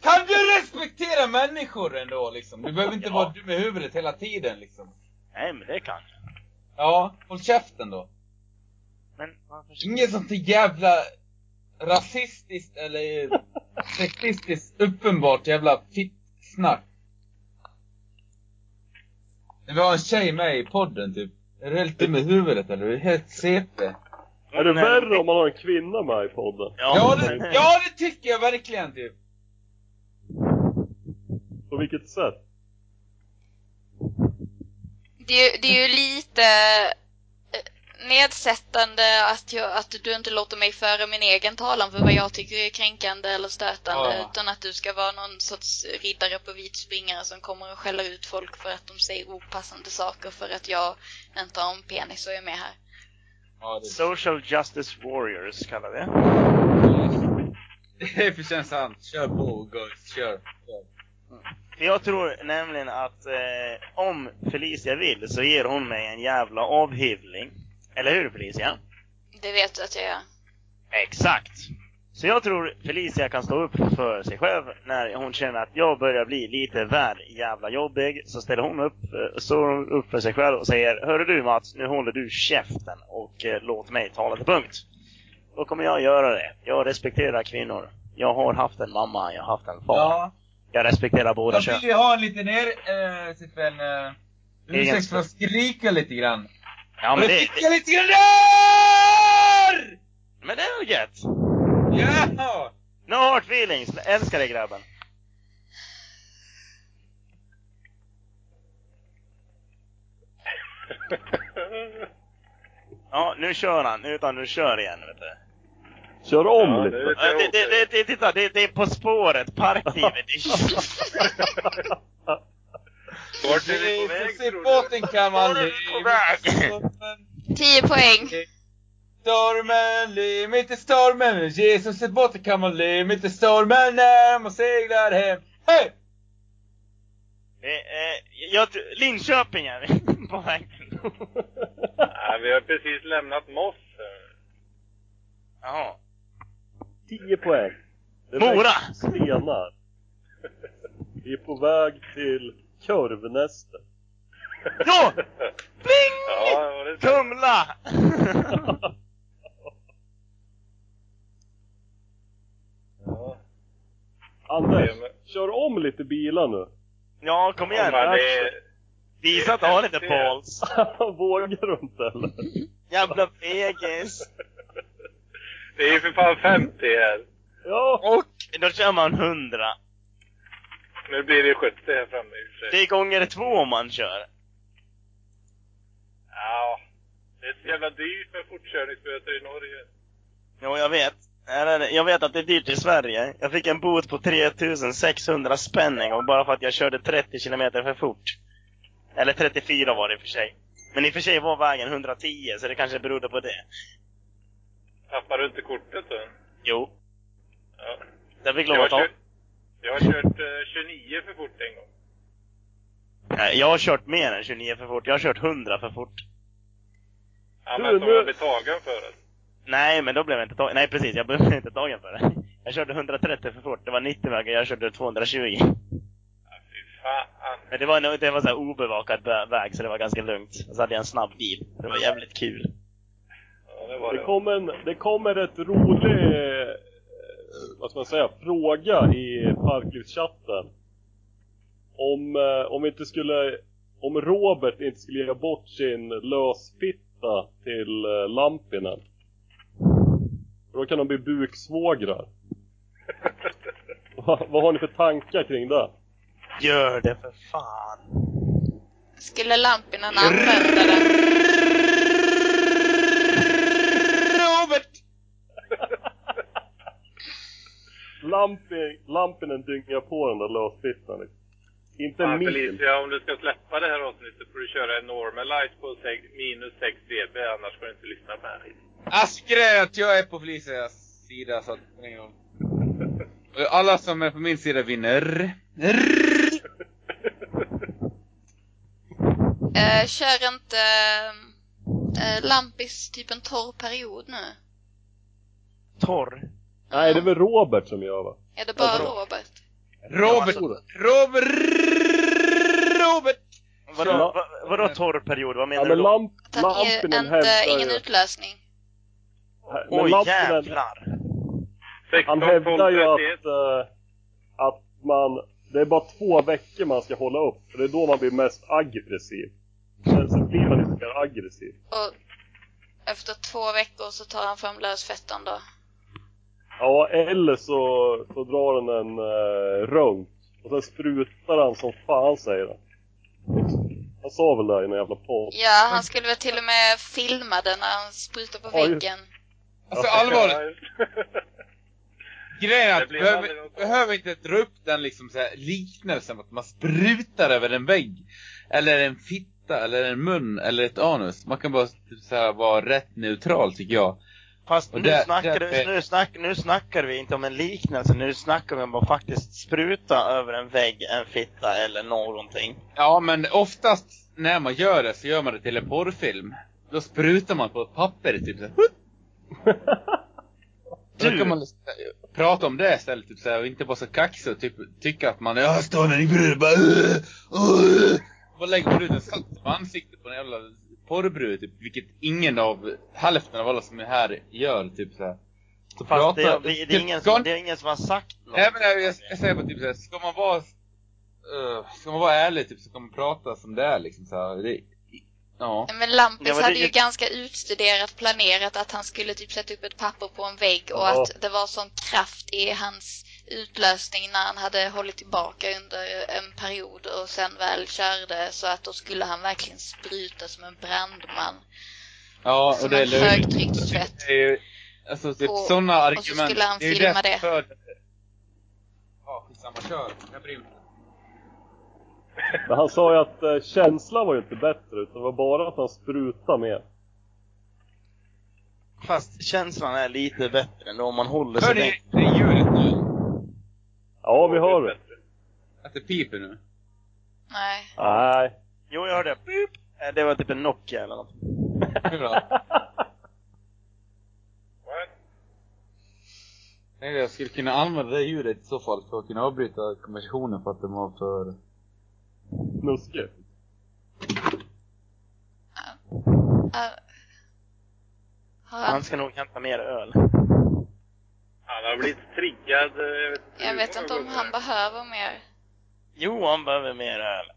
S5: kan du respektera människor ändå liksom? Du behöver inte
S2: Ja.
S5: vara dum i huvudet hela tiden liksom.
S2: Nej, men det kan jag.
S5: Ja, håll käften då. Mm.
S2: Men varför...
S5: Ingen sånt där jävla rasistiskt eller sexistiskt uppenbart jävla fitt-snack. När vi har en tjej med i podden typ. Är du helt dum i huvudet eller? Du är helt CP.
S3: Är det
S2: Nej,
S3: värre om man har en kvinna med i podden?
S2: Ja,
S5: Ja det, ja, det tycker jag verkligen typ.
S3: På vilket sätt?
S4: Det är, ju- det är ju lite eh, nedsättande att, jag, att du inte låter mig föra min egen talan för vad jag tycker är kränkande eller stötande.
S5: Ja.
S4: Utan att du ska vara någon sorts riddare på vit springare som kommer och skäller ut folk för att de säger opassande saker för att jag inte har en penis och är med här.
S5: Ja, det,
S2: Social Justice Warriors kallar vi det.
S5: (laughs) det är för känns sant. Kör på guys, kör. kör.
S2: För jag tror nämligen att eh, om Felicia vill så ger hon mig en jävla avhyvling. Eller hur Felicia?
S4: Det vet du att jag gör.
S2: Exakt! Så jag tror Felicia kan stå upp för sig själv när hon känner att jag börjar bli lite väl jävla jobbig. Så ställer hon upp, eh, står hon upp för sig själv och säger Hörru du Mats, nu håller du käften och eh, låt mig tala till punkt. Då kommer jag göra det. Jag respekterar kvinnor. Jag har haft en mamma, jag har haft en far.
S9: Ja.
S2: Jag respekterar båda
S9: Jag
S2: kön.
S9: vill ju ha en liten er, eh, typ en eh, ursäkt för att skrika lite grann.
S2: Ja men det,
S9: Skrika lite grann där!
S2: men det är väl gött?
S9: Ja!
S2: No hard feelings! Jag Älskar dig (laughs) grabben. Ja, nu kör han. Utan nu kör igen, vet du.
S3: Kör om
S1: Ja,
S3: lite.
S1: det vet
S2: Ja,
S1: jag
S2: det, det, det, det, titta, det, det är På spåret, parklivet. (laughs)
S1: Vart är vi på väg
S9: Se
S1: tror du?
S9: båten kan man
S2: Var är
S9: le.
S2: vi på väg?
S4: Tio poäng.
S9: Stormen, le mitt i stormen. Men Jesus i båten kan man le mitt i stormen när man seglar hem. Hej!
S2: Det är, jag, tror- Linköping är vi på väg till.
S1: Nej, vi har precis lämnat Moss. här.
S2: Jaha.
S3: 10 poäng. Det
S2: Mora!
S3: läggs Stenar. Vi är på väg till Kurvnästet.
S2: Ja! Bling!
S1: Ja, det var det
S2: Kumla!
S1: Ja.
S3: Anders, kör om lite bilar nu.
S2: (laughs)
S3: (laughs)
S2: ja, kom igen.
S1: Men det är...
S2: Visa att du har lite balls.
S3: Vågar du inte eller?
S7: Jävla fegis!
S1: Det är ju för fan 50 här.
S3: Ja!
S2: Och då kör man 100.
S1: Nu blir det 70 här framme i och för
S2: Det
S1: sig.
S2: är gånger två om man kör.
S1: Ja. Det är så jävla dyrt med fortkörningsböter i Norge.
S2: Jo, jag vet. Nej, nej, nej. Jag vet att det är dyrt i Sverige. Jag fick en bot på 3600 spänn en gång bara för att jag körde 30 kilometer för fort. Eller 34 var det i och för sig. Men i och för sig var vägen 110, så det kanske berodde på det.
S1: Tappar du inte kortet då?
S2: Jo.
S1: Ja.
S2: Jag fick lov
S1: Jag har
S2: att ta.
S1: kört, jag har kört eh, 29 för fort en gång.
S2: Nej, jag har kört mer än 29 för fort. Jag har kört 100 för fort.
S1: Ja,
S3: Du,
S1: men som
S3: nu-
S1: jag blev tagen för det.
S2: Nej, men då blev jag inte tagen. Nej, precis. Jag blev (laughs) inte tagen för det. Jag körde 130 för fort. Det var 90 vägar. Jag körde 220.
S1: Ja, fy fan.
S2: Men det var, en, det var så här obevakad bö- väg, så det var ganska lugnt. Och så hade jag en snabb bil. Det var jävligt kul.
S1: Ja, det var
S3: Det
S1: det.
S3: kom en, det kom en rätt rolig, eh, vad ska man säga, fråga i Parklivschatten. Om, eh, om vi inte skulle, om Robert inte skulle ge bort sin lösfitta till eh, Lampinen. För Då kan de bli buksvågrar. Va, vad har ni för tankar kring det?
S2: Gör det för fan!
S4: Skulle lamporna använda den?
S9: Robert!
S3: Lampi, Lampinen dyngar på den där lösfittan. liksom. Inte en
S1: Fan,
S3: mil.
S1: Felicia, om du ska släppa det här avsnittet får du köra en normalize på sex, minus 6 dB, annars får du inte lyssna på här.
S9: Askre att jag är på Felicias sida så att...
S5: Och Alla som är på min sida vinner.
S4: Eh, kör inte eh, Lampis typ en torr period nu?
S2: Torr.
S3: Nej, det är väl Robert som gör va?
S4: Är det bara
S2: Ja, bra.
S4: Robert?
S9: Robert!
S3: Tror du?
S9: Robert! Robert!
S2: Vadå,
S9: Kör.
S2: va, vadå torr period? Vad menar
S3: Ja, men
S2: du då?
S3: lamp,
S4: Att han ger
S3: lampinen
S4: inte,
S3: hävdar
S4: ingen
S3: ju...
S4: utlösning?
S3: Men
S2: Oj
S3: lampinen,
S2: jävlar!
S1: 16,
S3: han
S1: 12,
S3: hävdar ju att,
S1: 31.
S3: eh, att man... Det är bara två veckor man ska hålla upp, för det är då man blir mest aggressiv. Sen, sen blir man inte mer aggressiv.
S4: Och efter två veckor så tar han fram lösfettan då?
S3: Ja, eller så, så drar han en uh, runk. Och sen sprutar han som fan säger han. Han sa väl det i någon jävla podd.
S4: Ja, han skulle väl till och med filma den när han sprutar på
S3: Ja, just-
S4: väggen.
S9: Alltså allvarligt, (laughs) grejen är
S1: Det
S9: att
S1: blir aldrig
S9: behöver,
S1: något
S9: behöver inte dra upp den liksom så här liknelsen att man sprutar över en vägg. Eller en fitta, eller en mun, eller ett anus. Man kan bara typ, så här, vara rätt neutral tycker jag.
S7: Fast
S9: Och
S7: nu,
S9: där-
S7: snackar,
S9: där-
S7: du- nu, snack, nu snackar vi inte om en liknelse, nu snackar vi om att faktiskt spruta över en vägg, en fitta eller någonting.
S5: Ja, men oftast när man gör det så gör man det till en porrfilm. Då sprutar man på ett papper typ så här. Då kan man liksom, eh, prata om det istället typ, såhär, och inte vara så kaxig och typ, tycka att man är stående i brud bara "Åh, åh." Vad lägger man ut en sats på ansiktet på en jävla porrbrud typ, vilket ingen av hälften av alla som är här gör typ såhär. Så
S10: Fast det,
S5: prata-
S10: är- det, är ingen,
S5: Ska-
S10: som- det är ingen som har sagt något.
S5: Nej men jag, jag, jag säger bara typ såhär, ska man vara eh, Ska man vara ärlig typ så kan man prata som det är liksom såhär. Det, ja.
S4: Men Lampis
S10: Ja, men det-
S4: hade ju ganska utstuderat planerat att han skulle typ sätta upp ett papper på en vägg och
S3: Ja.
S4: att det var sån kraft i hans utlösning när han hade hållit tillbaka under en period och sen väl körde så att då skulle han verkligen spruta som en brandman.
S5: Ja,
S4: Som
S5: och det är
S4: en
S5: löjligt.
S4: högtryckstvätt.
S5: Det är ju, alltså typ
S4: Och-
S5: sådana
S4: och
S5: argument.
S4: så skulle han
S5: är ju
S4: filma det.
S5: som för- Ja, skitsamma, kör. Jag bryr mig inte.
S3: Men han sa ju att eh, känslan var ju inte bättre, utan det var bara att han sprutade mer.
S10: Fast känslan är lite bättre ändå om man håller sig
S5: Hör
S10: länge.
S5: ni Alltså, det är ljudet nu?
S3: Ja, vi hör det.
S5: Att det piper nu?
S4: Nej.
S3: Nej.
S10: Jo, jag hörde det. Pip. Eh, Det var typ en Nokia eller något.
S5: Hur då? Nej, jag skulle kunna använda det ljudet i så fall för att kunna avbryta konversationen för att den var för...
S3: Snuskigt.
S4: Äh, har han,
S10: Han ska nog hämta mer öl.
S1: Han har blivit triggad. eh, Jag vet inte,
S4: jag
S1: hur
S4: vet
S1: många
S4: inte om
S1: gånger.
S4: han behöver mer.
S10: Jo, han behöver mer öl.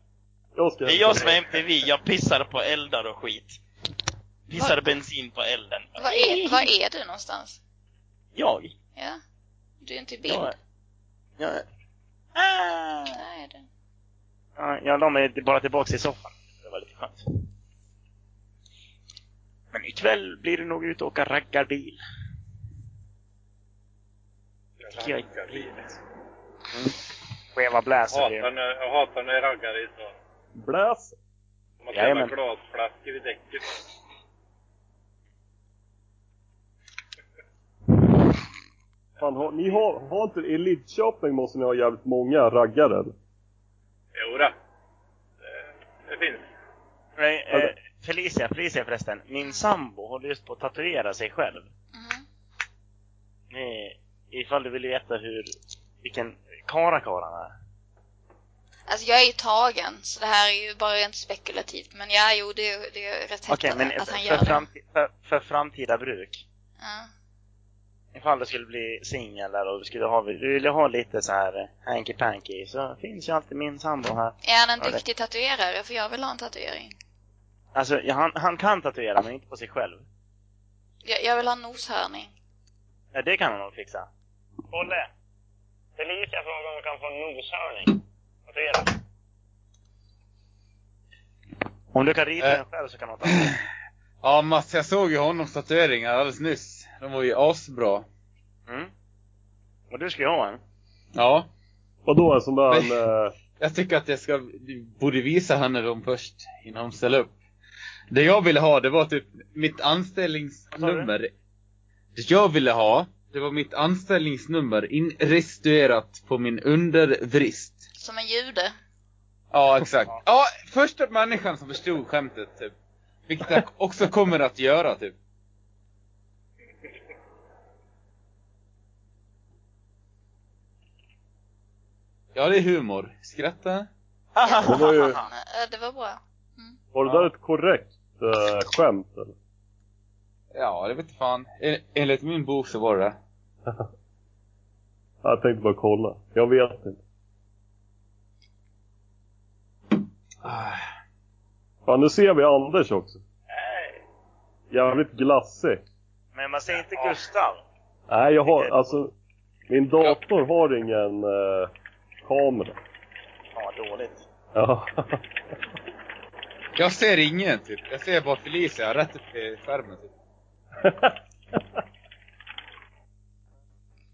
S3: Jag ska
S10: Det är jag som är MTV. Jag pissade på eldar och skit. Pissade bensin på elden.
S4: Var är, var är du någonstans?
S10: Jag?
S4: Ja? Du är inte i bild?
S10: Jag är... Jag är... Ah!
S4: Nej, det...
S10: Ja, Jag la mig bara tillbaks i soffan. Det var lite skönt. Men ikväll blir det nog ut och åka raggarbil. Tycker jag inte blir det.
S2: Skeva
S1: Jag
S2: bläser.
S1: hatar när, jag hatar när raggare är så.
S3: Bläs!
S1: De har
S2: Jajamän.
S1: jävla glasflaskor i däcket.
S3: Fan, har, ni har, har inte Elitköping måste ni ha jävligt många raggare.
S1: Jodå. Det, det finns.
S2: Nej, eh, Felicia, Felicia förresten. Min sambo håller just på att tatuera sig själv.
S4: Mhm.
S2: Eh, ifall du vill veta hur, vilken karakar han är.
S4: Alltså jag är ju tagen, så det här är ju bara rent spekulativt. Men ja, jo, det, är- det är rätt
S2: Okej,
S4: häftigt
S2: men
S4: att Alltså, han
S2: för,
S4: gör det.
S2: framti- för, för framtida bruk.
S4: Ja.
S2: Ifall du skulle bli singel där och du skulle ha, du ville ha lite så här hanky panky så finns ju alltid min sambo här.
S4: Är han en
S2: Ja, det-
S4: duktig tatuerare? För jag vill ha en tatuering.
S2: Alltså, ja, han, han kan tatuera men inte på sig själv.
S4: Jag, jag vill ha en noshörning.
S2: Ja, det kan han nog fixa. Olle! Felicia frågar om du kan få en noshörning. Tatuera. Om du kan rita
S5: Äh.
S2: den själv så kan hon ta den.
S5: Ja, Mats, jag såg ju honoms tatueringar alldeles nyss. De var ju asbra.
S2: Mm. Och du ska ju ha en.
S5: Ja.
S3: Vadå, en sån där...
S5: Nej.
S3: eh,
S5: Jag tycker att jag ska, du borde visa henne dem först innan hon ställer upp. Det jag ville ha, det var typ mitt
S2: Vad sa
S5: anställningsnummer. Det jag ville ha, det var mitt anställningsnummer inrestuerat på min undervrist.
S4: Som en jude.
S5: Ja, exakt. Ja, första människan som förstod skämtet typ.
S2: (laughs)
S5: Vilket jag också kommer att göra typ. Ja, det är humor. Skratta.
S3: Det var ju...
S4: Ja, eh, det var bra.
S3: Var det där ett korrekt eh, skämt eller?
S5: Ja, det vet fan. En, enligt min bok så var det det.
S3: Jag tänkte bara kolla. Jag vet inte.
S5: Ah.
S3: Fan, nu ser vi Anders också. Jävligt glassig.
S2: Men man säger inte Gustav.
S3: Nej, jag har alltså... Min dator har ingen eh, kamera.
S2: Fan vad dåligt.
S3: Ja. (laughs)
S5: Jag ser ingen typ. Jag ser bara Felicia rätt upp i skärmen (laughs) typ.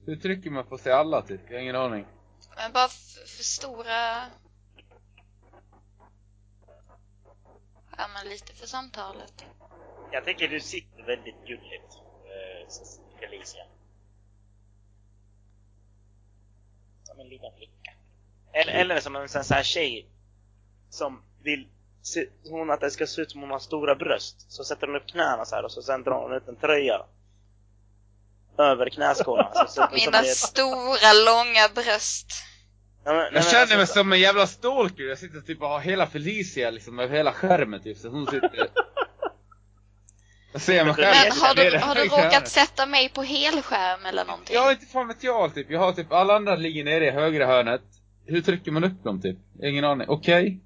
S5: Hur trycker man på sig alla typ? Jag har ingen aning.
S4: Men bara f- för stora... Ja, men lite för samtalet.
S2: Jag tycker du sitter väldigt gulligt, eh, Felicia. Som en liten flicka. Eller,
S5: Mm.
S2: eller som en sån här tjej som vill se, hon att det ska se ut som hon har stora bröst. Så sätter hon upp knäna så här och så sen drar hon ut en tröja. över knäskålarna. Så- så- så-
S4: Mina stora, långa bröst.
S2: Ja, men- nej, men
S5: Jag känner mig
S2: alltså,
S5: som en jävla stalker. Jag sitter typ och har hela Felicia liksom över hela skärmen typ. Så hon sitter... Jag ser mig själv.
S4: Men har du,
S5: Det är det
S4: har du
S5: jag känner.
S4: råkat sätta mig på helskärm eller någonting?
S5: Jag har inte fan vet jag typ. Jag har typ alla andra ligger nere i högra hörnet. Hur trycker man upp dem typ? Ingen aning. Okej?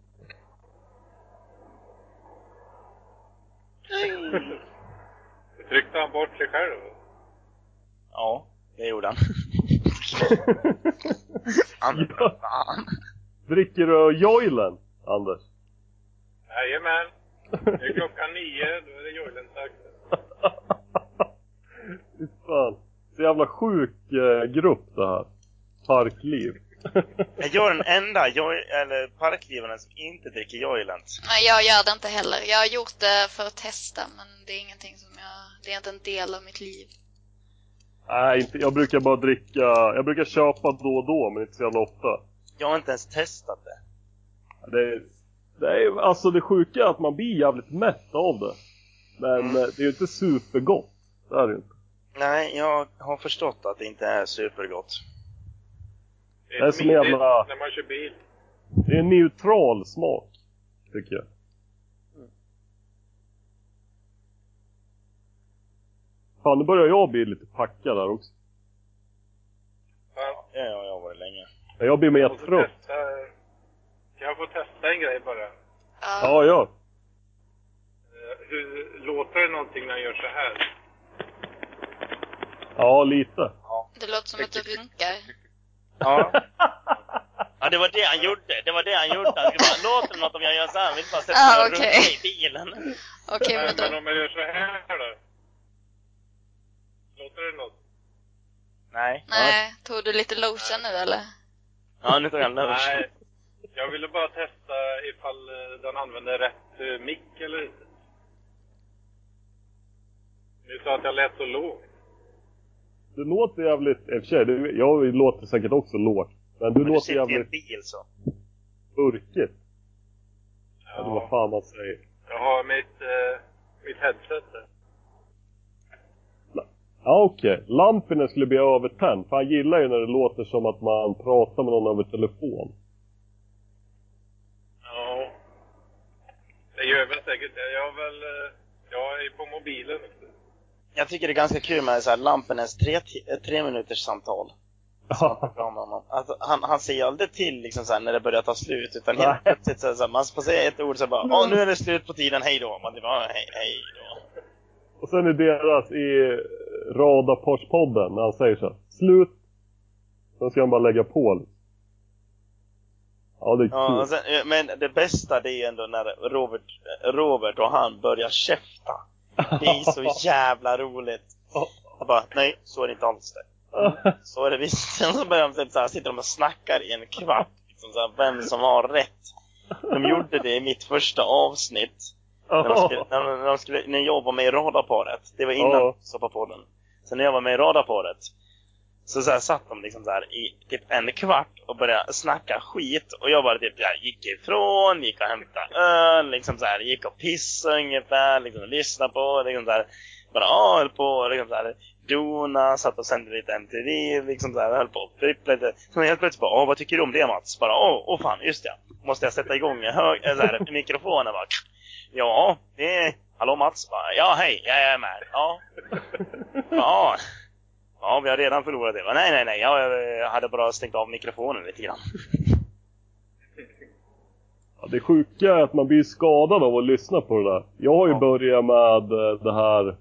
S1: Tryckte han bort sig själv?
S2: Ja, det gjorde han.
S3: Ja,
S2: Fan.
S3: dricker du joilen, Anders? (laughs)
S1: Jajamän. Nu är klockan nio, då är det Joilen-dags.
S3: Fy fan. Så jävla sjuk eh, grupp det här. Parkliv. (laughs)
S2: Men Jag är den enda joj, eller parklivaren som inte dricker joilant.
S4: Nej, jag gör det inte heller. Jag har gjort det för att testa, men det är ingenting som jag... Det är inte en del av mitt liv.
S3: Nej, inte, jag brukar bara dricka, jag brukar köpa då och då men inte så jävla ofta.
S2: Jag har inte ens testat det.
S3: Det är, det är, alltså det sjuka är att man blir jävligt mätt av det. Men eh, det är ju inte supergott. Det är det ju inte.
S2: Nej, jag har förstått att det inte är supergott.
S1: Det
S3: Det är
S1: är
S3: som
S1: smidigt
S3: jävla-
S1: när man kör bil.
S3: Det är en neutral smak, tycker jag. Fan, nu börjar jag bli lite packad här också.
S1: Fan,
S2: Ja, jag har varit länge.
S3: Men Jag blir mer
S1: jag måste
S3: trött.
S1: testa... Kan jag få testa en grej bara?
S4: Ja.
S3: Ja, ja.
S1: Eh, Hur låter det någonting när jag gör så här?
S3: Ja, lite.
S4: Det låter som att du runkar.
S2: Ja. ja, det var det han gjorde. Det var det han gjorde. Han skulle bara, låter det något om jag gör så här? Han vill bara sätta
S4: Ah,
S2: mig och
S4: okej.
S2: runka i bilen.
S4: Okej,
S1: Nej,
S4: men
S1: men
S4: då...
S1: om jag gör så här då? Låter det något?
S2: Nej.
S4: Nej, tog du lite lotion nu eller?
S2: Ja, nu tog han lunch.
S1: Nej. Jag ville bara testa ifall eh, den använder rätt eh, mick eller inte. Ni sa att jag lät så lågt.
S3: Du låter jävligt... I och för sig, du- jag låter säkert också lågt. Men du
S2: Men du
S3: låter
S2: sitter i en
S3: jävligt
S2: bil så.
S3: burkigt. Eller vad
S1: Ja,
S3: fan man säger.
S1: jag har mitt, eh, mitt headset där.
S3: Ja, okej. Lampinen skulle bli övertänd. För han gillar ju när det låter som att man pratar med någon över telefon.
S1: Ja. Det gör väl säkert det. Jag har väl... eh, Jag är på mobilen.
S2: Jag tycker det är ganska kul med så här Lampenäs tre, eh, tre minuters samtal. Fram med honom. Alltså, han, han ser ju aldrig till liksom, så här, när det börjar ta slut, utan helt plötsligt så, här, så här, man får säga ett ord så här, bara Åh, nu är det slut på tiden, hej då! Man typ, "Ja, hej, hej då.
S3: Och sen är deras i Radaporspodden när han säger så här, slut. Sen ska han bara lägga på. liksom. Ja, det är
S2: Ja,
S3: kul.
S2: och
S3: (laughs)
S2: sen, eh, men det bästa det är ju ändå när Robert, eh, Robert och han börjar käfta. Det är
S3: (laughs)
S2: så jävla roligt. Jag bara, nej, så är det inte alls det. Så är det visst. Sen (laughs) så börjar de typ så här, sitter de och snackar i en kvart. Liksom så här, vem som har rätt. De gjorde det i mitt första avsnitt. När, de skulle, när, de- när, de skulle, när jag var med i radarparet. Det var innan
S3: Ja.
S2: Soppapodden. Sen när jag var med i radarparet. Så, så här satt de liksom så här i typ en kvart och började snacka skit. Och jag bara typ jag gick ifrån, gick och hämtade öl, liksom så här, gick och pissade ungefär, liksom och lyssnade på, liksom så här, bara ja, höll på, liksom så här, dona, satt och sände lite MTV, liksom så här, höll på och trippla lite. Sen helt plötsligt bara, åh vad tycker du om det Mats? Bara, åh, åh fan, just det. Måste jag sätta igång en hög, äh, så här, mikrofonen bara. Ja, det är... Hallå Mats? Bara, Ja, hej, jag är med. Ja. Ja. Ja, vi har redan förlorat det. Bara, Nej, nej, nej. Jag eh, hade bara stängt av mikrofonen lite grann.
S3: Ja, det sjuka är att man blir skadad av att lyssna på det där. Jag har ju
S2: Ja.
S3: börjat med eh, det här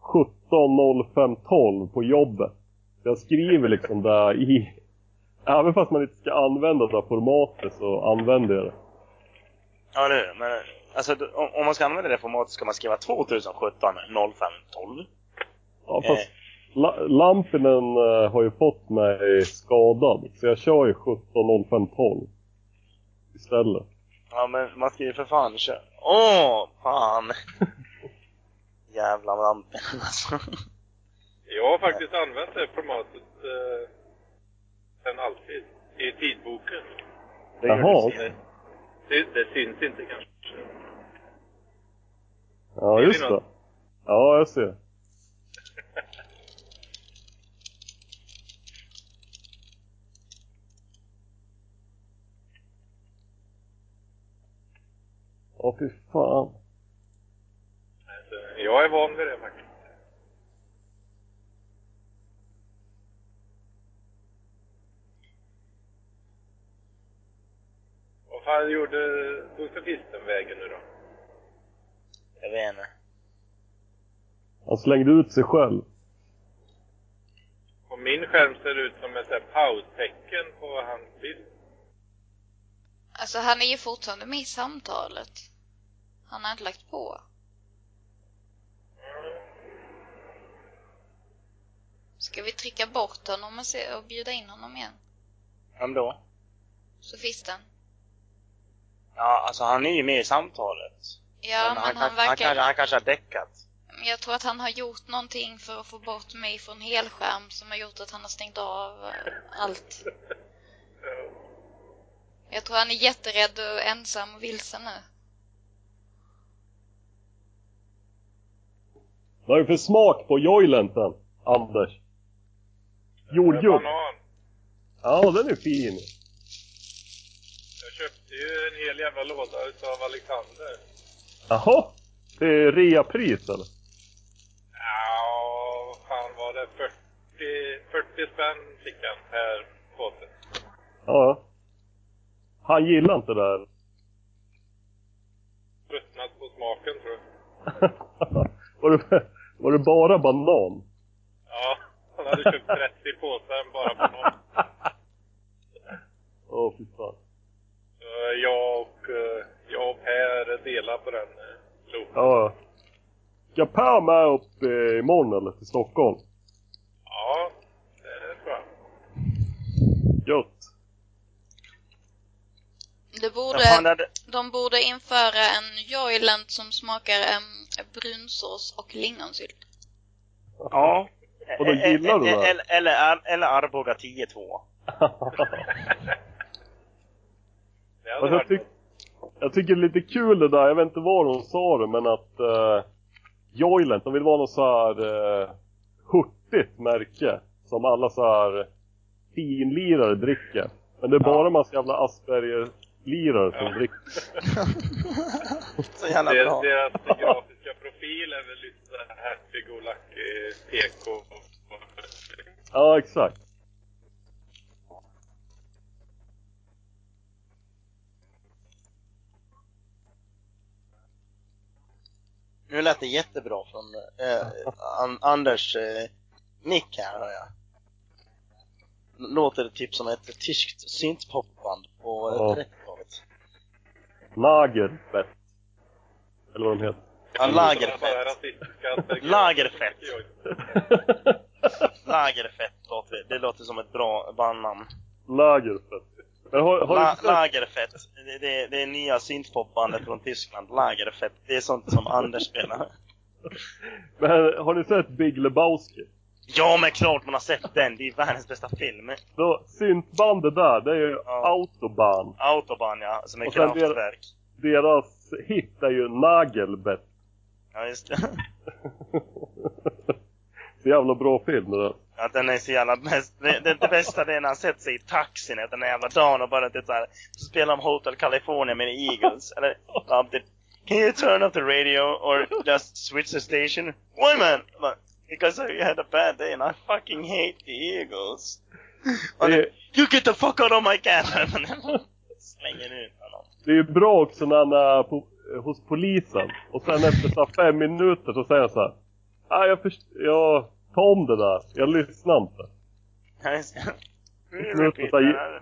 S3: 17.05.12 på jobbet. Jag skriver liksom det i... (laughs) Även fast man inte ska använda det där formatet så använder jag det.
S2: Ja, eller hur? Men alltså, du- om om man ska använda det formatet ska man skriva 2017 05 12.
S3: Ja, fast
S2: Eh.
S3: la- Lampinen eh, har ju fått mig skadad, så jag kör ju 17.05.12 istället.
S2: Ja, men man skriver för fan kö- Åh, fan! Jävla lampen alltså.
S1: Jag har faktiskt använt det formatet eh, sen alltid. I tidboken.
S2: Det gör
S3: Jaha,
S2: du
S3: okej.
S2: fel.
S1: Det, det syns inte kanske.
S3: Ja,
S1: Är det
S3: just
S1: något?
S3: det. Ja, jag ser. Ja, fy fan.
S1: Jag är van vid det faktiskt. Vad fan gjorde Josefisten vägen nu då?
S2: Jag vet inte.
S3: Han slängde ut sig själv.
S1: På min skärm ser det ut som ett så här paustecken på hans bild.
S4: Alltså han är ju fortfarande med i samtalet. Han har inte lagt på. Ska vi trycka bort honom och, se, och bjuda in honom igen?
S11: Vem då?
S4: Sofisten?
S11: Ja, alltså han är ju med i samtalet.
S4: Ja, men, han,
S11: kanske-
S4: verkar...
S11: kanske- han kanske har däckat.
S4: Men Jag tror att han har gjort någonting för att få bort mig från helskärm som har gjort att han har stängt av eh, allt. Jag tror han är jätterädd och ensam och vilsen nu.
S3: Vad är det för smak på joylenten, Anders? Jordgubb?
S1: Banan.
S3: Ja, den är fin.
S1: Jag köpte ju en hel jävla låda utav Alexander.
S3: Jaha? Det är reapris eller?
S1: Ja, vad fan var det? 40, 40 spänn fick han per påse.
S3: Ja. Han gillar inte det här. (laughs)
S1: Ruttnat på smaken tror jag.
S3: var, det, var det bara banan?
S1: Ja, han hade köpt 30 påsar bara på någon.
S3: Åh, fy fan.
S1: Så Jag och, eh, jag och Per delar på den eh, lopen.
S3: Ja. Ska Per med upp eh, imorgon eller till Stockholm?
S1: Ja, det tror jag.
S3: Gött.
S4: Det borde,
S11: Men fan, det hade-
S4: De borde införa en joyland som smakar em, brunsås och lingonsylt.
S11: Ja.
S2: Eh,
S3: Och då gillar du det här?
S2: Eller, eller, Ar- eller Arboga 10-2.
S1: Det hade
S3: Alltså, jag,
S1: varit
S3: tyck, jag tycker det är lite kul det där, jag vet inte var hon sa det, men att uh, Joylent, de vill vara något så här eh, hurtigt märke som alla så här finlirare dricker. Men det är bara massa jävla Asperger-lirare som dricker.
S2: Så jävla
S1: Deras,
S2: bra.
S1: deras grafiska profil är väl lite så här hertig och lack, eh, PK. och-
S3: Ja, exakt.
S2: Nu lät det jättebra från eh, an, Anders eh, mick här hör jag. Låter det typ som ett tyskt syntpopband på
S3: Ja.
S2: oh. 30-talet.
S3: Lagerbett. Eller vad de heter.
S2: Ja,
S1: Bara
S2: Lagerfett. (laughs)
S1: rasistiska attrakt-
S2: Lagerfett.
S1: Jag-
S2: Lagerfett låter det. Det låter som ett bra bandnamn.
S3: Lagerbett. Men har, har
S2: La,
S3: du försökt,
S2: Lagerfett. Det, det, det är nya syntpopbandet från Tyskland. Lagerfett. Det är sånt som Anders spelar.
S3: men har ni sett Big Lebowski?
S2: Ja men klart man har sett den. Det är världens bästa film.
S3: Då, syntbandet där, det är ju
S2: Ja.
S3: Autobahn.
S2: Autobahn ja, som är
S3: Och sen det-
S2: kraftverk.
S3: Deras hit är ju Nagelbett.
S2: Ja just det.
S3: Så jävla bra film det där.
S2: Att den är så jävla bäst. Det, det, det bästa det är när han sätter sig i taxin efter den här jävla dagen och bara typ såhär spelar om Hotel California med the Eagles. Eller ja, typ Can you turn off the radio or just switch the station? Why man? Bara, Because I had a bad day and I fucking hate the Eagles. Och
S3: Det,
S2: det, you get the fuck out of my car! (laughs) Slänger ut honom.
S3: det är ju bra också när han är på, hos polisen. Och sen efter så här fem minuter så säger han så här. "Ah, jag, först, jag tar om det där. Jag lyssnar inte.
S2: Jag ska-
S3: Repeat
S2: (laughs)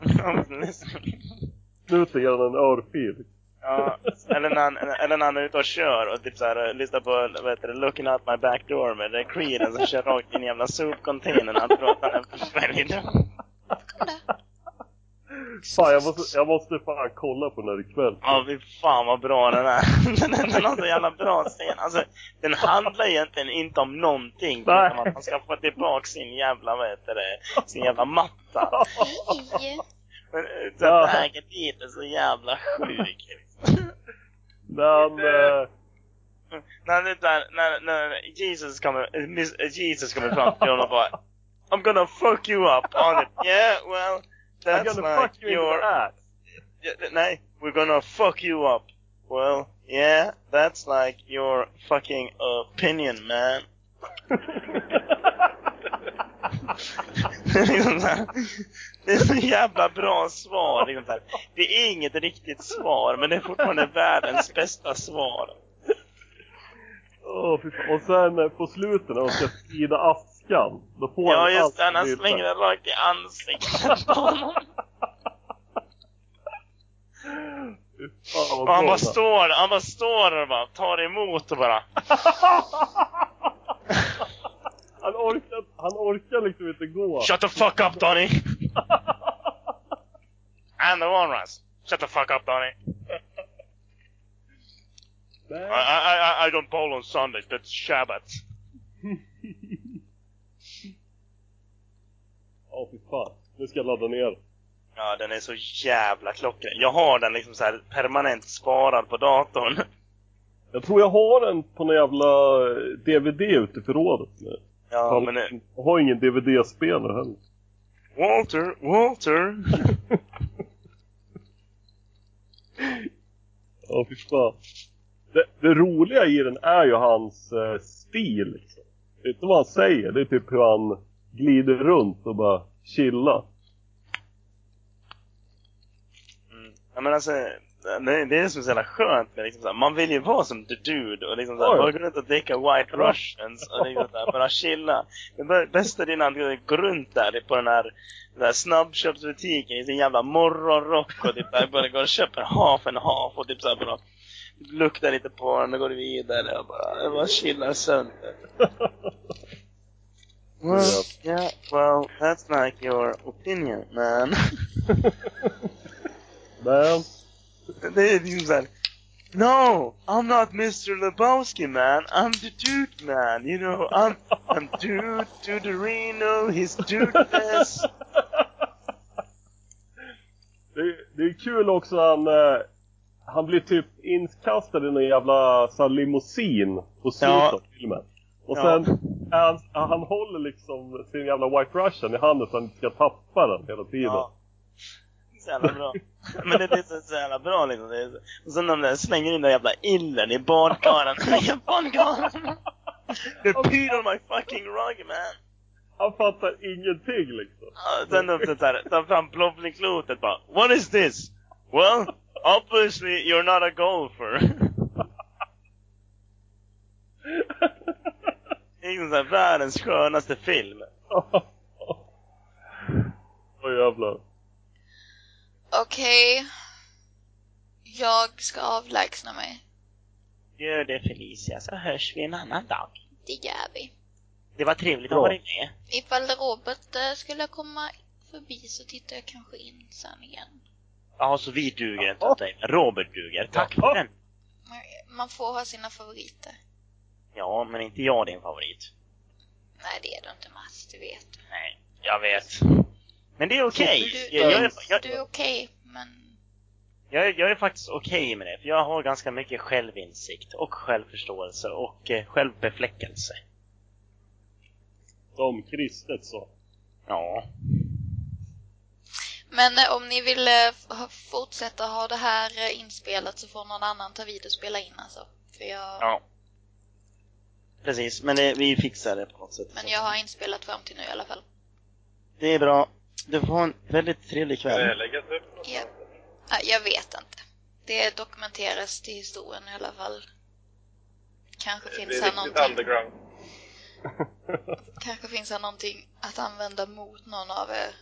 S3: Snuten ger han en örfil.
S2: Ja, eller när, han, eller när han är ute och kör och typ såhär, lyssnar på vad heter det, Looking Out My Back Door med det är Creeden som kör rakt in i jävla sopcontainern och han tror att han är förföljd.
S3: Fan, jag måste, jag måste fan kolla på den här ikväll.
S2: Ja, fy fan vad bra den är. (laughs) Den, den, den har så jävla bra scen. Alltså, den handlar egentligen inte om någonting.
S3: Nej.
S2: Utan att han ska få tillbaka sin jävla, vad heter det, sin jävla matta.
S4: Nej.
S2: Men, eh, Så
S3: Ja.
S2: att vägen dit är så jävla sjuk.
S3: När han, eh,
S2: När, det där, när, när Jesus kommer, eh, miss, eh, Jesus kommer fram till honom och bara I'm gonna fuck you up on it. Yeah, well,
S3: I'm
S2: that's
S3: gonna fuck
S2: like
S3: you in the
S2: your...
S3: ass.
S2: Ja, Nej, we're gonna fuck you up. Well, yeah, that's like your fucking opinion, man. Det är liksom så här, det är så jävla bra svar. Liksom så här. Det är inget riktigt svar, men det är fortfarande världens bästa svar.
S3: Åh, fy fan. och sen eh, på slutet när de ska sprida askan, då får
S2: Ja,
S3: han
S2: just
S3: allt
S2: det. Han
S3: lite.
S2: slänger den rakt i ansiktet på honom.
S3: Fan, vad
S2: Och han
S3: bra
S2: bara
S3: det där.
S2: står, han bara står där och bara tar emot och bara...
S3: han, orkar, han orkar liksom inte gå.
S2: Shut the fuck up (laughs) Donny! And the walrus. Shut the fuck up Donny! I,
S3: Nej.
S2: I, I, I don't bowl on Sundays, but it's Shabbat.
S3: Ja, fy fan. Nu ska jag ladda ner.
S2: Ja, den är så jävla klockren. Jag har den liksom så här permanent sparad på (laughs) datorn.
S3: Jag tror jag har den på någon jävla eh, DVD ute i förrådet nu.
S2: Ja,
S3: Fan,
S2: men nu...
S3: Jag har ingen DVD-spelare heller.
S2: Walter, Walter!
S3: Ja, fy fan. Det, det roliga i den är ju hans eh, stil. Liksom. Det är inte vad han säger, det är typ hur han glider runt och bara chillar.
S2: Mm. Ja, men alltså, det, det är som så jävla skönt med liksom så här, man vill ju vara som the dude och liksom så här,
S3: Ja, ja.
S2: bara gå runt och dricka white russians och liksom så här, bara chilla. Det bä- bästa är när han går runt där på den här, den här snabbköpsbutiken i sin jävla morgonrock och typ där bara går och köper half en half och typ så här, bara luktar lite på den och går vidare och bara, bara chillar sönder. Well, yeah, well, that's like your opinion, man. (laughs)
S3: Men,
S2: Det är liksom såhär No! I'm not Mr. Lebowski man, I'm the dude man, you know, I'm, I'm dude to the Reno, his dudeness.
S3: det, det är kul också han, eh, han blir typ inkastad i någon jävla så här, limousin på slutet
S2: Ja.
S3: av filmen. Och
S2: Ja.
S3: sen, är han, han håller liksom sin jävla White Russian i handen så han inte ska tappa den hela tiden.
S2: Ja. Så jävla bra. Men det, det är så, så jävla bra liksom. Det är, så- och sen de där slänger in den jävla illen i (laughs) badkaren, i badkaren. The peed on my fucking rug man.
S3: Han fattar ingenting liksom. (laughs)
S2: Uh, Sen upp det där, ta fram Plovniklotet bara. What is this? Well, obviously you're not a golfer. Det är liksom så här världens skönaste film.
S3: Åh jävlar.
S4: Okej. Jag ska avlägsna mig.
S2: Gör det Felicia, så hörs vi en annan dag.
S4: Det gör vi.
S2: Det var trevligt
S3: Bra.
S2: att ha dig med.
S4: Ifall Robert eh, skulle komma förbi så tittar jag kanske in sen igen.
S2: Ja, så vi duger inte åt dig. Robert duger. Tack
S3: Ja.
S2: för den.
S4: Man- Man får ha sina favoriter.
S2: Ja, men inte jag din favorit.
S4: Nej, det är du inte Mats, du vet.
S2: Nej, jag vet. Men det är okej.
S4: Du,
S2: Jag, jag, är- jag,
S4: du är okej, men...
S2: Jag, är- jag är faktiskt okej med det, för jag har ganska mycket självinsikt och självförståelse och eh, självbefläckelse.
S3: Som kristet sa.
S2: Ja.
S4: Men eh, om ni vill eh, f- ha- fortsätta ha det här eh, inspelat så får någon annan ta vid och spela in alltså. För jag...
S2: Ja. Precis, men det, vi fixar det på något sätt.
S4: Men jag har inspelat fram till nu i alla fall.
S2: Det är bra. Du får ha en väldigt trevlig
S1: Det
S2: kväll.
S1: läggas upp något.
S4: Jag, ja, jag vet inte. Det dokumenteras till historien i alla fall. Kanske
S1: Det är
S4: finns här
S1: riktigt
S4: någonting,
S1: underground.
S4: kanske finns här någonting att använda mot någon av er.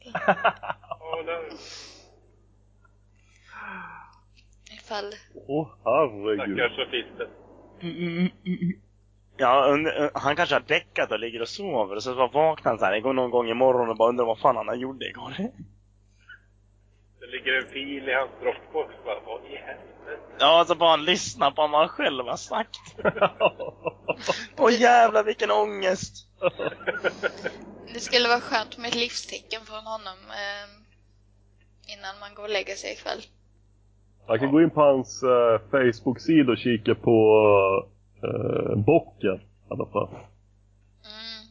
S1: Ja, där.
S4: Ifall...
S3: Åh herregud.
S1: Stackars sofisten.
S2: Ja, und- uh, han kanske har däckat och ligger och sover och så bara vaknar han så här det går någon gång imorgon och bara undrar vad fan han gjorde igår.
S1: Det ligger en fil i hans droppbox. Bara, Vad i helvete?
S2: Ja, alltså bara lyssna på vad man själv har sagt.
S3: (laughs)
S2: Åh jävlar vilken ångest!
S4: Det skulle vara skönt med ett livstecken från honom eh, innan man går och lägger sig ikväll.
S3: Man kan gå in på hans eh, Facebook-sida och kika på eh, bocken i alla fall.
S4: Mm.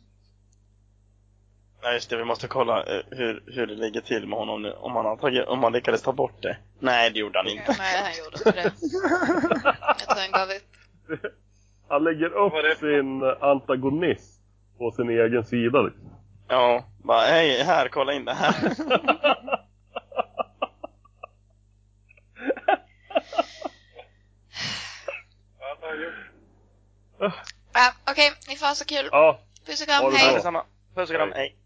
S2: Nej just det, vi måste kolla eh, hur, hur det ligger till med honom nu. Om han, har tagit, om han lyckades ta bort det. Nej, det gjorde han inte.
S4: Nej, han gjorde inte det. (laughs) Jag tror han gav upp.
S3: Han lägger
S1: Vad är det
S3: upp sin antagonist på sin egen sida liksom.
S2: Ja, bara hej, här, kolla in det här.
S1: Han har gjort
S4: Ja, Okej, ni får ha så kul.
S3: Ja,
S4: Puss och
S3: Ha
S4: kram,
S3: det
S4: hej!
S3: bra.
S2: Detsamma. Puss och kram, hej.